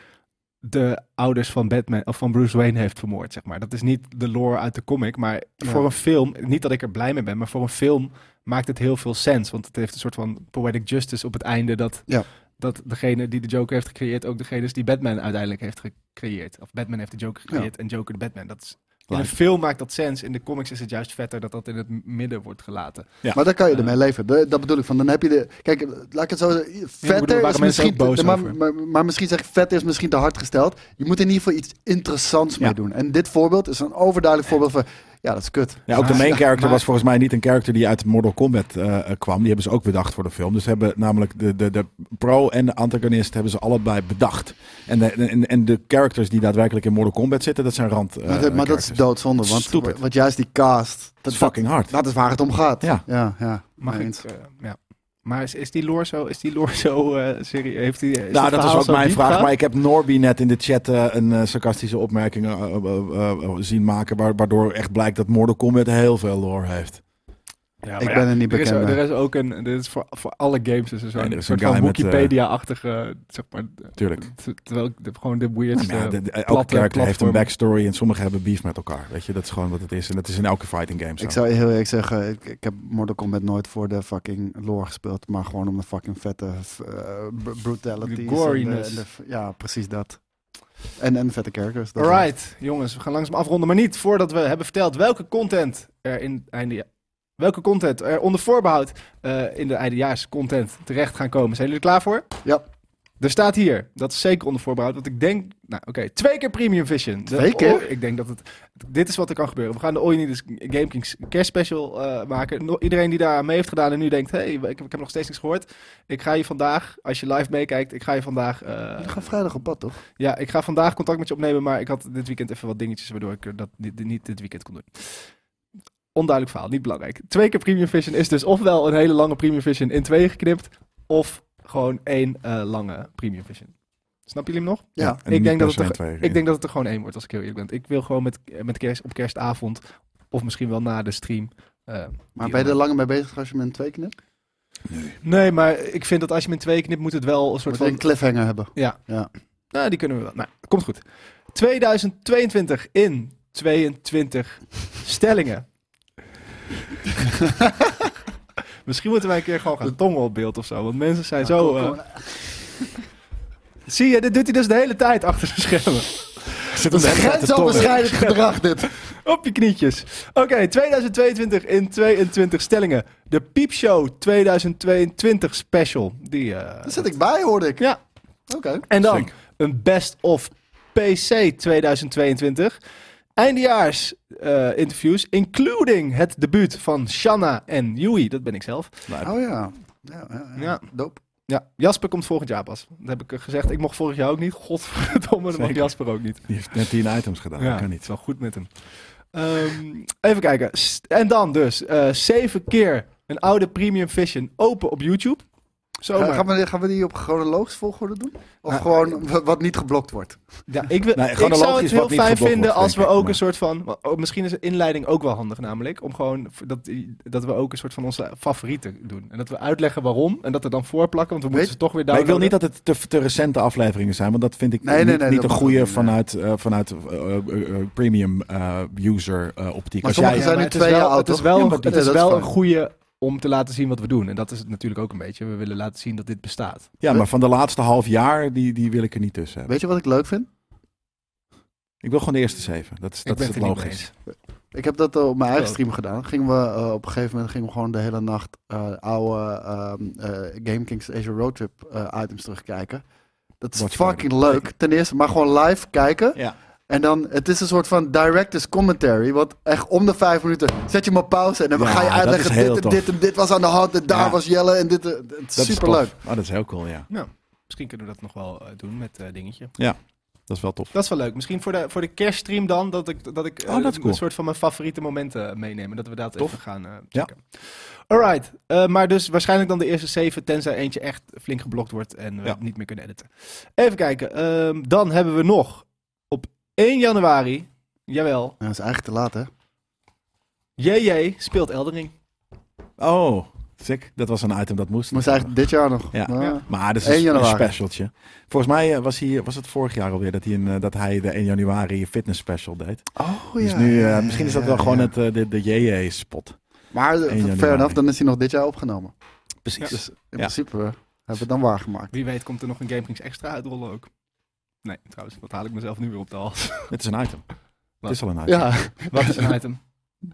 B: de ouders van Batman of van Bruce Wayne heeft vermoord, zeg maar. Dat is niet de lore uit de comic, maar
C: Ja.
B: voor een film, niet dat ik er blij mee ben, maar voor een film maakt het heel veel sens, want het heeft een soort van poetic justice op het einde dat
C: Ja.
B: dat degene die de Joker heeft gecreëerd ook degene is die Batman uiteindelijk heeft gecreëerd. Of Batman heeft de Joker gecreëerd en Joker de Batman. Dat is in een
A: Lijkt.
B: film maakt dat sens. In de comics is het juist vetter dat dat in het m- midden wordt gelaten.
A: Ja.
C: Maar daar kan je ermee leven. De- dat bedoel ik. Van, dan heb je de. Kijk, laat ik het zo zeggen.
B: waren
C: Vetter is
B: mensen
C: misschien.
B: ook boos
C: te- maar,
B: over.
C: maar, maar misschien zeg ik vetter is misschien te hard gesteld. Je moet in ieder geval iets interessants mee
A: Ja.
C: doen. En dit voorbeeld is een overduidelijk voorbeeld van. Ja, dat is kut.
A: Ja, ook de main character
B: maar-
A: was volgens mij niet een character die uit Mortal Kombat eh, eh, kwam. Die hebben ze ook bedacht voor de film. Dus ze hebben namelijk de, de, de pro en de antagonist hebben ze allebei bedacht. En de, en, en de characters die daadwerkelijk in Mortal Kombat zitten, dat zijn rand. eh,
C: maar dat- maar dat is
A: characters.
C: doodzonde. Want,
A: Stupid.
C: want juist die cast.
A: Dat
C: Dat,
A: is fucking hard.
C: dat, dat is waar het om gaat.
A: Ja.
C: ja, ja.
B: Mag
C: Mee
B: ik?
C: eens.
B: eh, ja. Maar is, is die lore zo, is die lore *laughs* zo eh, serie? Heeft die, is het
A: Nou, dat was
B: verhaal
A: ook
B: zo
A: mijn
B: diep
A: vraag.
B: gegaan?
A: Maar ik heb Norby net in de chat eh, een eh, sarcastische opmerking eh, eh, eh, eh, zien maken. wa- Waardoor echt blijkt dat Mortal Kombat heel veel lore heeft.
B: Ja, maar
C: Ik
B: ja,
C: ben er niet
B: er is,
C: bekend mee.
B: er is ook een, dit is voor, voor alle games is er zo'n
A: Nee, er is
B: soort
A: een
B: van
A: guy met, eh,
B: Wikipedia-achtige, zeg maar,
A: Tuurlijk.
B: t- terwijl ik de- gewoon de weirdste...
A: Nou Ja, de- de- elke
B: platte
A: character heeft een
B: platform.
A: backstory en sommigen hebben beef met elkaar. Weet je, dat is gewoon wat het is. En dat is in elke fighting game zo.
C: Ik zou je heel eerlijk zeggen, ik, ik heb Mortal Kombat nooit voor de fucking lore gespeeld, maar gewoon om de fucking vette eh, brutality.
B: De goriness.
C: ja, precies dat. En, en vette characters. dat wel.
B: Alright, jongens, we gaan langzaam afronden. Maar niet voordat we hebben verteld welke content er in het einde... Welke content er onder voorbehoud eh, in de eindejaars content terecht gaan komen. Zijn jullie er klaar voor?
C: Ja.
B: Er staat hier, dat is zeker onder voorbehoud, want ik denk... Nou, oké, twee keer Premium Vision. De-
C: Twee keer?
B: oh, ik denk dat het... Dit is wat er kan gebeuren. We gaan de All You Need Is Game Kings kerstspecial eh, maken. No- iedereen die daar mee heeft gedaan en nu denkt... hey, ik, heb- ik heb nog steeds niks gehoord. Ik ga je vandaag, als je live meekijkt, ik ga je vandaag... eh,
C: We gaan vrijdag op pad, toch?
B: ja, ik ga vandaag contact met je opnemen, maar ik had dit weekend even wat dingetjes waardoor ik eh, dat dit, dit niet dit weekend kon doen. Onduidelijk verhaal, niet belangrijk. Twee keer Premium Vision is dus ofwel een hele lange Premium Vision in tweeën geknipt, of gewoon één eh, lange Premium Vision. Snap jullie hem nog?
C: Ja.
A: en
B: ik
A: niet
B: denk
A: per
B: dat
A: se
B: het
A: twee keer.
B: Ik denk dat het er gewoon één wordt, als ik heel eerlijk ben. Ik wil gewoon met, eh, met kerst, op kerstavond, of misschien wel na de stream. eh,
C: Maar
B: die
C: ben je er
B: online-
C: langer mee bezig als je hem in twee knipt?
B: Nee, maar ik vind dat als je hem in twee knipt, moet het wel een soort
C: Moet je
B: van...
C: een cliffhanger hebben.
B: Nou, die kunnen we wel. Nou, komt goed. 2022 in 22 stellingen. *laughs* Misschien moeten wij een keer gewoon gaan tongen op beeld of zo. Want mensen zijn
C: Ja,
B: zo...
C: kom-
B: eh,
C: kom-
B: zie je, dit doet hij dus de hele tijd achter de schermen.
A: Zit
C: Dat
A: hem
C: is
A: de hele tijd te tongen.
C: grensoverschrijdend
B: *laughs*
C: gedrag dit.
B: Op je knietjes. Oké, 2022 in 22 stellingen. De Piepshow 2022 special. Die, eh,
C: Daar zit ik bij, hoorde ik.
B: Ja.
C: Oké.
B: En dan
A: Sick.
B: een Best of PC 2022. Eindejaars eh, interviews, including het debuut van Shanna en Yui. Dat ben ik zelf.
A: Nou,
C: Oh ja. Ja, ja, ja.
B: Ja.
C: Doop.
B: Ja, Jasper komt volgend jaar pas. Dat heb ik eh, gezegd. Ik mocht vorig jaar ook niet. Godverdomme, dat mag
A: Zeker.
B: Jasper ook niet.
A: Die heeft net 10 items gedaan.
B: Ja,
A: dat kan
B: Het is
A: niet.
B: wel goed met hem. Ehm, even kijken. S- En dan dus eh, zeven keer een oude Premium Vision open op YouTube. Zo
C: Ga-
B: maar.
C: gaan, we, gaan we die op chronologisch volgorde doen? Of
B: Nou,
C: gewoon w- wat niet geblokt wordt?
B: Ja, ik, wil,
A: Nee,
B: ik
A: chronologisch
B: zou het heel
A: wat niet
B: fijn
A: geblokt
B: vinden
A: wordt,
B: als we
A: denk ik,
B: ook
A: maar-
B: een soort van. maar ook- Misschien is de inleiding ook wel handig, namelijk. Om gewoon v- dat, die- dat we ook een soort van onze favorieten doen. En dat we uitleggen waarom. En dat er dan voorplakken, want we moeten
C: Weet-
B: ze toch weer
A: Maar ik
B: downloaden.
A: wil niet dat het te, te recente afleveringen zijn, want dat vind ik
C: Nou, Nee, nee,
A: niet,
C: nee,
A: niet
C: dat
A: een
C: mag
A: goede
C: niet, nee.
A: vanuit, eh, vanuit eh, eh, eh, premium eh, user eh, optiek.
C: Maar
A: Als
C: sommige
A: jij,
C: zijn
B: maar
C: nu
B: het is
C: twee
B: wel-
C: jaar oud,
B: Het is
C: toch?
B: wel,
C: Ja,
B: een,
C: maar
B: het
C: dat-
B: is
C: dat is
B: wel een
C: fijn.
B: goede om te laten zien wat we doen. En dat is het natuurlijk ook een beetje. We willen laten zien dat dit bestaat.
A: ja, maar van de laatste half jaar, die, die wil ik er niet tussen hebben.
C: Weet je wat ik leuk vind?
A: Ik wil gewoon de eerste zeven. Dat is,
B: Ik
A: dat
B: ben
A: is het
B: het er niet mee
A: logisch.
B: eens.
C: Ik heb dat eh, op mijn eigen
B: Oh.
C: stream gedaan. Gingen we, eh, op een gegeven moment gingen we gewoon de hele nacht eh, oude ehm eh, Game Kings Asia Road Trip eh, items terugkijken. Dat is
A: Watch
C: fucking leuk. Ten eerste, maar gewoon live kijken.
A: Ja.
C: En dan, het is een soort van director's commentary. Want echt om de vijf minuten zet je hem op pauze. En dan
A: Ja,
C: ga je
A: dat
C: uitleggen
A: is
C: dit
A: heel
C: en
A: tof.
C: dit en dit was aan de hand. En daar
A: Ja.
C: was Jelle en dit. eh, Het
A: Dat
C: is
A: is
C: superleuk.
A: tof. Oh, dat is heel cool, ja.
B: Misschien kunnen we dat nog wel eh, doen met eh dingetje.
A: Dat is wel tof.
B: Dat is wel leuk. Misschien voor de, voor de kerststream dan, dat ik, dat ik eh,
A: Oh, dat is cool.
B: een soort van mijn favoriete momenten meeneem. En dat we dat
A: Tof.
B: even gaan eh
A: Ja.
B: checken. Alright, Eh, maar dus waarschijnlijk dan de eerste zeven, tenzij eentje echt flink geblokt wordt en we
A: Ja.
B: het niet meer kunnen editen. Even kijken, Ehm, dan hebben we nog op 1 januari, jawel,
C: Ja, dat is eigenlijk te laat, hè?
B: JJ speelt Eldering.
A: Oh, sick. Dat was een item dat moest.
C: Moest eigenlijk dit jaar nog.
A: Ja.
C: Maar-
B: Ja.
A: Maar dat is
C: 1
A: een, een
C: januari.
A: specialtje. Volgens mij eh, was, hij, was het vorig jaar alweer dat hij, een, eh, dat hij de 1 januari fitness special deed.
C: Oh ja.
A: dus nu, eh,
C: ja,
A: misschien is dat
C: ja,
A: wel gewoon
C: ja.
A: het, eh, de, de JJ-spot.
C: Maar eh,
A: 1
C: fair
A: januari.
C: enough, dan is hij nog dit jaar opgenomen.
A: Precies.
C: Dus in
A: Ja.
C: principe eh, hebben we het dan waargemaakt.
B: Wie weet komt er nog een Game Kings extra uitrollen ook. Nee, trouwens, dat haal ik mezelf nu weer op de hals.
A: Het is een item. Het is al een item.
C: Ja,
B: Wat is *laughs* een item?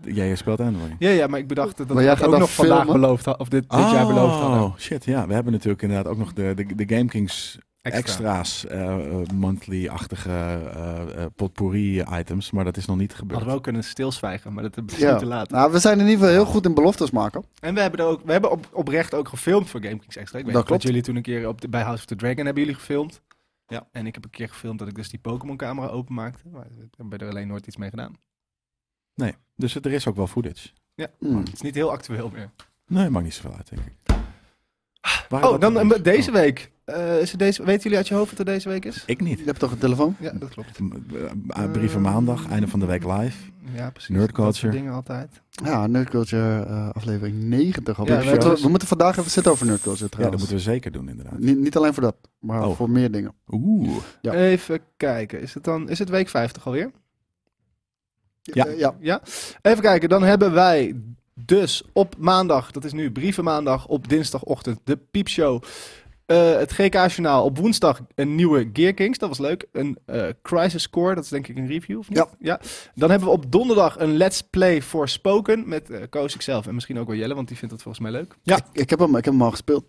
A: Jij speelt Android.
B: Ja, ja, maar ik bedacht dat
C: Maar
B: we
C: jij
B: dat
C: gaat
B: ook
C: dan
B: nog vandaag
C: filmen?
B: beloofd had, of dit, dit jaar beloofd hadden.
A: Oh, shit. Ja, we hebben natuurlijk inderdaad ook nog de, de, de Game Kings extra's, eh, eh, monthly-achtige eh, eh, potpourri-items, maar dat is nog niet gebeurd.
B: Hadden we ook kunnen stilzwijgen, maar dat is
C: Ja.
B: te laat.
C: nou, we zijn in ieder geval heel goed in beloftes maken.
B: En we hebben, er ook, we hebben op, oprecht ook gefilmd voor GameKings Extra. Ik weet nog
C: Dat
B: dat
C: klopt.
B: jullie toen een keer op de, bij House of the Dragon hebben jullie gefilmd.
A: Ja.
B: En ik heb een keer gefilmd dat ik dus die Pokémon-camera openmaakte. Maar we hebben er alleen nooit iets mee gedaan.
A: Dus het- er is ook wel footage.
C: Hmm.
B: Het is niet heel actueel meer.
A: Nee, maakt niet zoveel uit, denk ik. Waren
B: Oh,
A: dat
B: dan
A: nog
B: eh,
A: niet?
B: deze
A: Oh,
B: week. Eh, is het deze, weten jullie uit je hoofd wat er deze week is?
A: ik niet.
C: Je hebt toch een telefoon?
B: Ja, dat klopt.
A: M- eh, Brieven maandag, einde van de week live.
B: Ja, precies.
A: Nerd
B: Dat soort
A: culture.
B: dingen altijd.
C: Ja, Nerdculture eh aflevering 90. alweer.
B: Ja,
C: we,
B: we-
C: moeten, we moeten vandaag even zitten over Nerdculture
A: Ja, dat
C: trouwens.
A: moeten we zeker doen, inderdaad.
C: niet, niet alleen voor dat, maar
A: Oh.
C: voor meer dingen.
A: Oeh.
C: Ja.
B: Even kijken. Is het dan, is het week 50 alweer?
A: Ja.
C: Eh, ja.
B: Ja, even kijken. Dan hebben wij dus op maandag, dat is nu brievenmaandag, op dinsdagochtend de piepshow. Eh, het GK-journaal op woensdag een nieuwe Gear Kings, dat was leuk. Een eh, Crisis Core, dat is denk ik een review of niet?
C: Ja.
B: Dan hebben we op donderdag een Let's Play for Spoken met eh Koos ikzelf en misschien ook wel Jelle, want die vindt dat volgens mij leuk.
A: Ja.
C: Ik, ik heb hem, ik heb hem al gespeeld.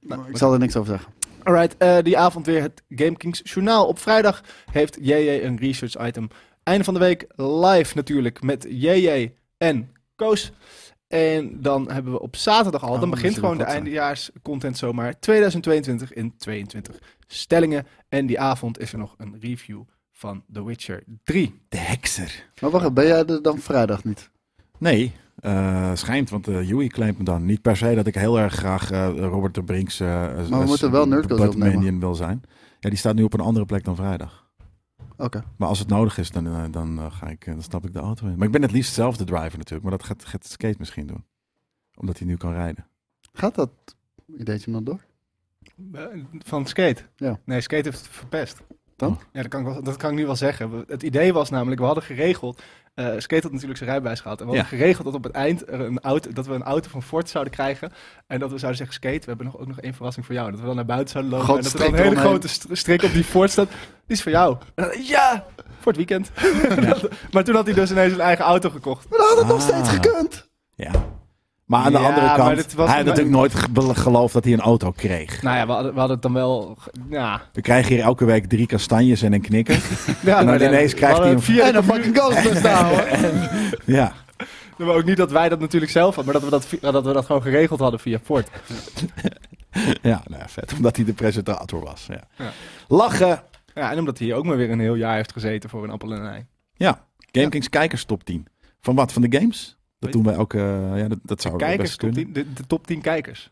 B: Nou,
C: ik zal er niks over zeggen.
B: Alright, eh, die avond weer het Game Kings Journaal. Op vrijdag heeft JJ een research item. Einde van de week live natuurlijk met JJ en Koos. En dan hebben we op zaterdag al,
C: Oh,
B: dan
C: dat
B: begint
C: zullen
B: gewoon de
C: wat zijn.
B: eindejaarscontent zomaar. 2022 in 22 stellingen. En die avond is er nog een review van The Witcher 3.
A: De hekser.
C: Maar wacht, ben jij er dan vrijdag niet?
A: Nee, eh, schijnt, want eh Yui claimt me dan. Niet per se dat ik heel erg graag eh, Robert de Brinks... eh maar
C: moeten wel Nerdcodes opnemen.
A: wil zijn. Ja, die staat nu op een andere plek dan vrijdag.
C: Oké.
A: Maar als het nodig is, dan, eh, dan, eh, ga ik, eh, dan stap ik de auto in. Maar ik ben het liefst zelf de driver natuurlijk. Maar dat gaat, gaat Skate misschien doen. Omdat hij nu kan rijden.
C: Gaat dat ideetje nog door?
B: Eh, Van Skate?
C: Ja.
B: Nee, Skate heeft het verpest.
C: Dan?
B: Ja, dat kan, ik wel- dat kan ik nu wel zeggen. We- Het idee was namelijk, we hadden geregeld... eh, Skate had natuurlijk zijn rijbewijs gehad. En we hadden geregeld dat op het eind er een auto, dat we een auto van Ford zouden krijgen. En dat we zouden zeggen, Skate, we hebben nog, ook nog één verrassing voor jou. Dat we dan naar buiten zouden lopen
C: Grote
B: en dat er dan
C: strik
B: een hele
C: eromheen.
B: grote st- strik op die Ford staat. Die is voor jou. En dan, ja, voor het weekend. *laughs* maar toen had hij dus ineens een eigen auto gekocht.
C: Maar dat had het nog
A: Ah.
C: steeds gekund.
A: Ja. Maar aan de
B: Ja,
A: andere
B: maar
A: kant,
B: dit was-
A: hij had natuurlijk nooit ge- be- geloofd dat hij een auto kreeg.
B: Nou ja, we hadden, we hadden het dan wel... ge- Ja,
A: We krijgen hier elke week drie kastanjes en een
B: *laughs*
A: knikker.
B: ja
A: maar
B: nee,
A: ineens
B: we
A: krijgt
B: hadden
A: hij
B: via de
C: En een
B: computer-
C: fucking Ghostbuster houden.
A: ja.
B: Nee, maar ook niet dat wij dat natuurlijk zelf hadden, maar dat we dat, vi- dat, we dat gewoon geregeld hadden via Ford.
A: Ja, nou ja, vet. Omdat hij de presentator was. Ja.
B: Ja.
A: Lachen.
B: Ja, en omdat hij ook maar weer een heel jaar heeft gezeten voor een appel en een ei.
A: Ja, GameKings kijkers top 10. Van wat? Van de games? Dat
B: Weet-
A: doen wij ook. eh, ja, dat, dat zou
B: Kijkers,
A: best
B: top
A: kunnen.
B: 10, de, de top 10 kijkers.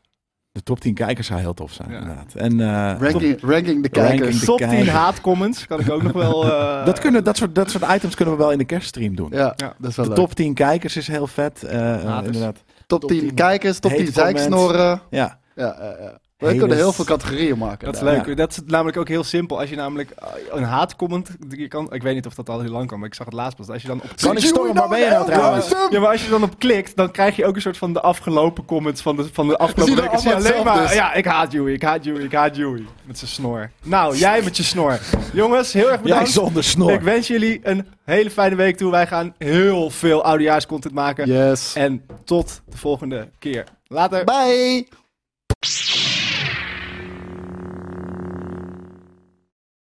A: De top 10 kijkers zou heel tof zijn,
B: Ja.
A: inderdaad. En eh,
C: Ranking, ranking de
A: Ranking
C: kijkers.
A: de
B: top 10
A: kijkers.
B: haatcomments kan ik ook nog
A: *laughs*
B: wel... eh,
A: dat, kunnen, dat, soort, dat soort items kunnen we wel in de kerststream doen.
C: Ja,
B: Ja.
C: dat is wel
A: De
C: leuk.
A: top 10 kijkers is heel vet. eh, eh,
B: Haters.
A: inderdaad.
C: Top,
A: top
C: 10,
A: 10
C: kijkers, top 10
A: hate comments.
C: zeiksnorren.
A: Ja,
C: Ja, ja, ja. We
A: Hele
C: kunnen heel
A: s-
C: veel categorieën maken.
B: Dat is
C: daar.
B: leuk. Dat is namelijk ook heel simpel. Als je namelijk eh, een haatcomment... Je kan, ik weet niet of dat al heel lang kan, maar ik zag het laatst pas. Als je dan op...
A: Kan ik stormen? Waar ben je nou trouwens?
B: Ja, maar als je dan op klikt, dan krijg je ook een soort van de afgelopen comments van de, van de afgelopen
C: Zie je
B: weken. Zie
C: allemaal
B: je alleen
C: hetzelfde
B: maar,
C: dus?
B: ja, ik haat Joey, ik haat Joey, ik haat Joey. Met zijn snor. Nou, jij met je snor. Jongens, heel erg
A: Jij
B: bedankt.
A: zonder snor.
B: Ik wens jullie een hele fijne week toe. Wij gaan heel veel oudejaarscontent maken.
C: Yes.
B: En tot de volgende keer. Later.
C: Bye.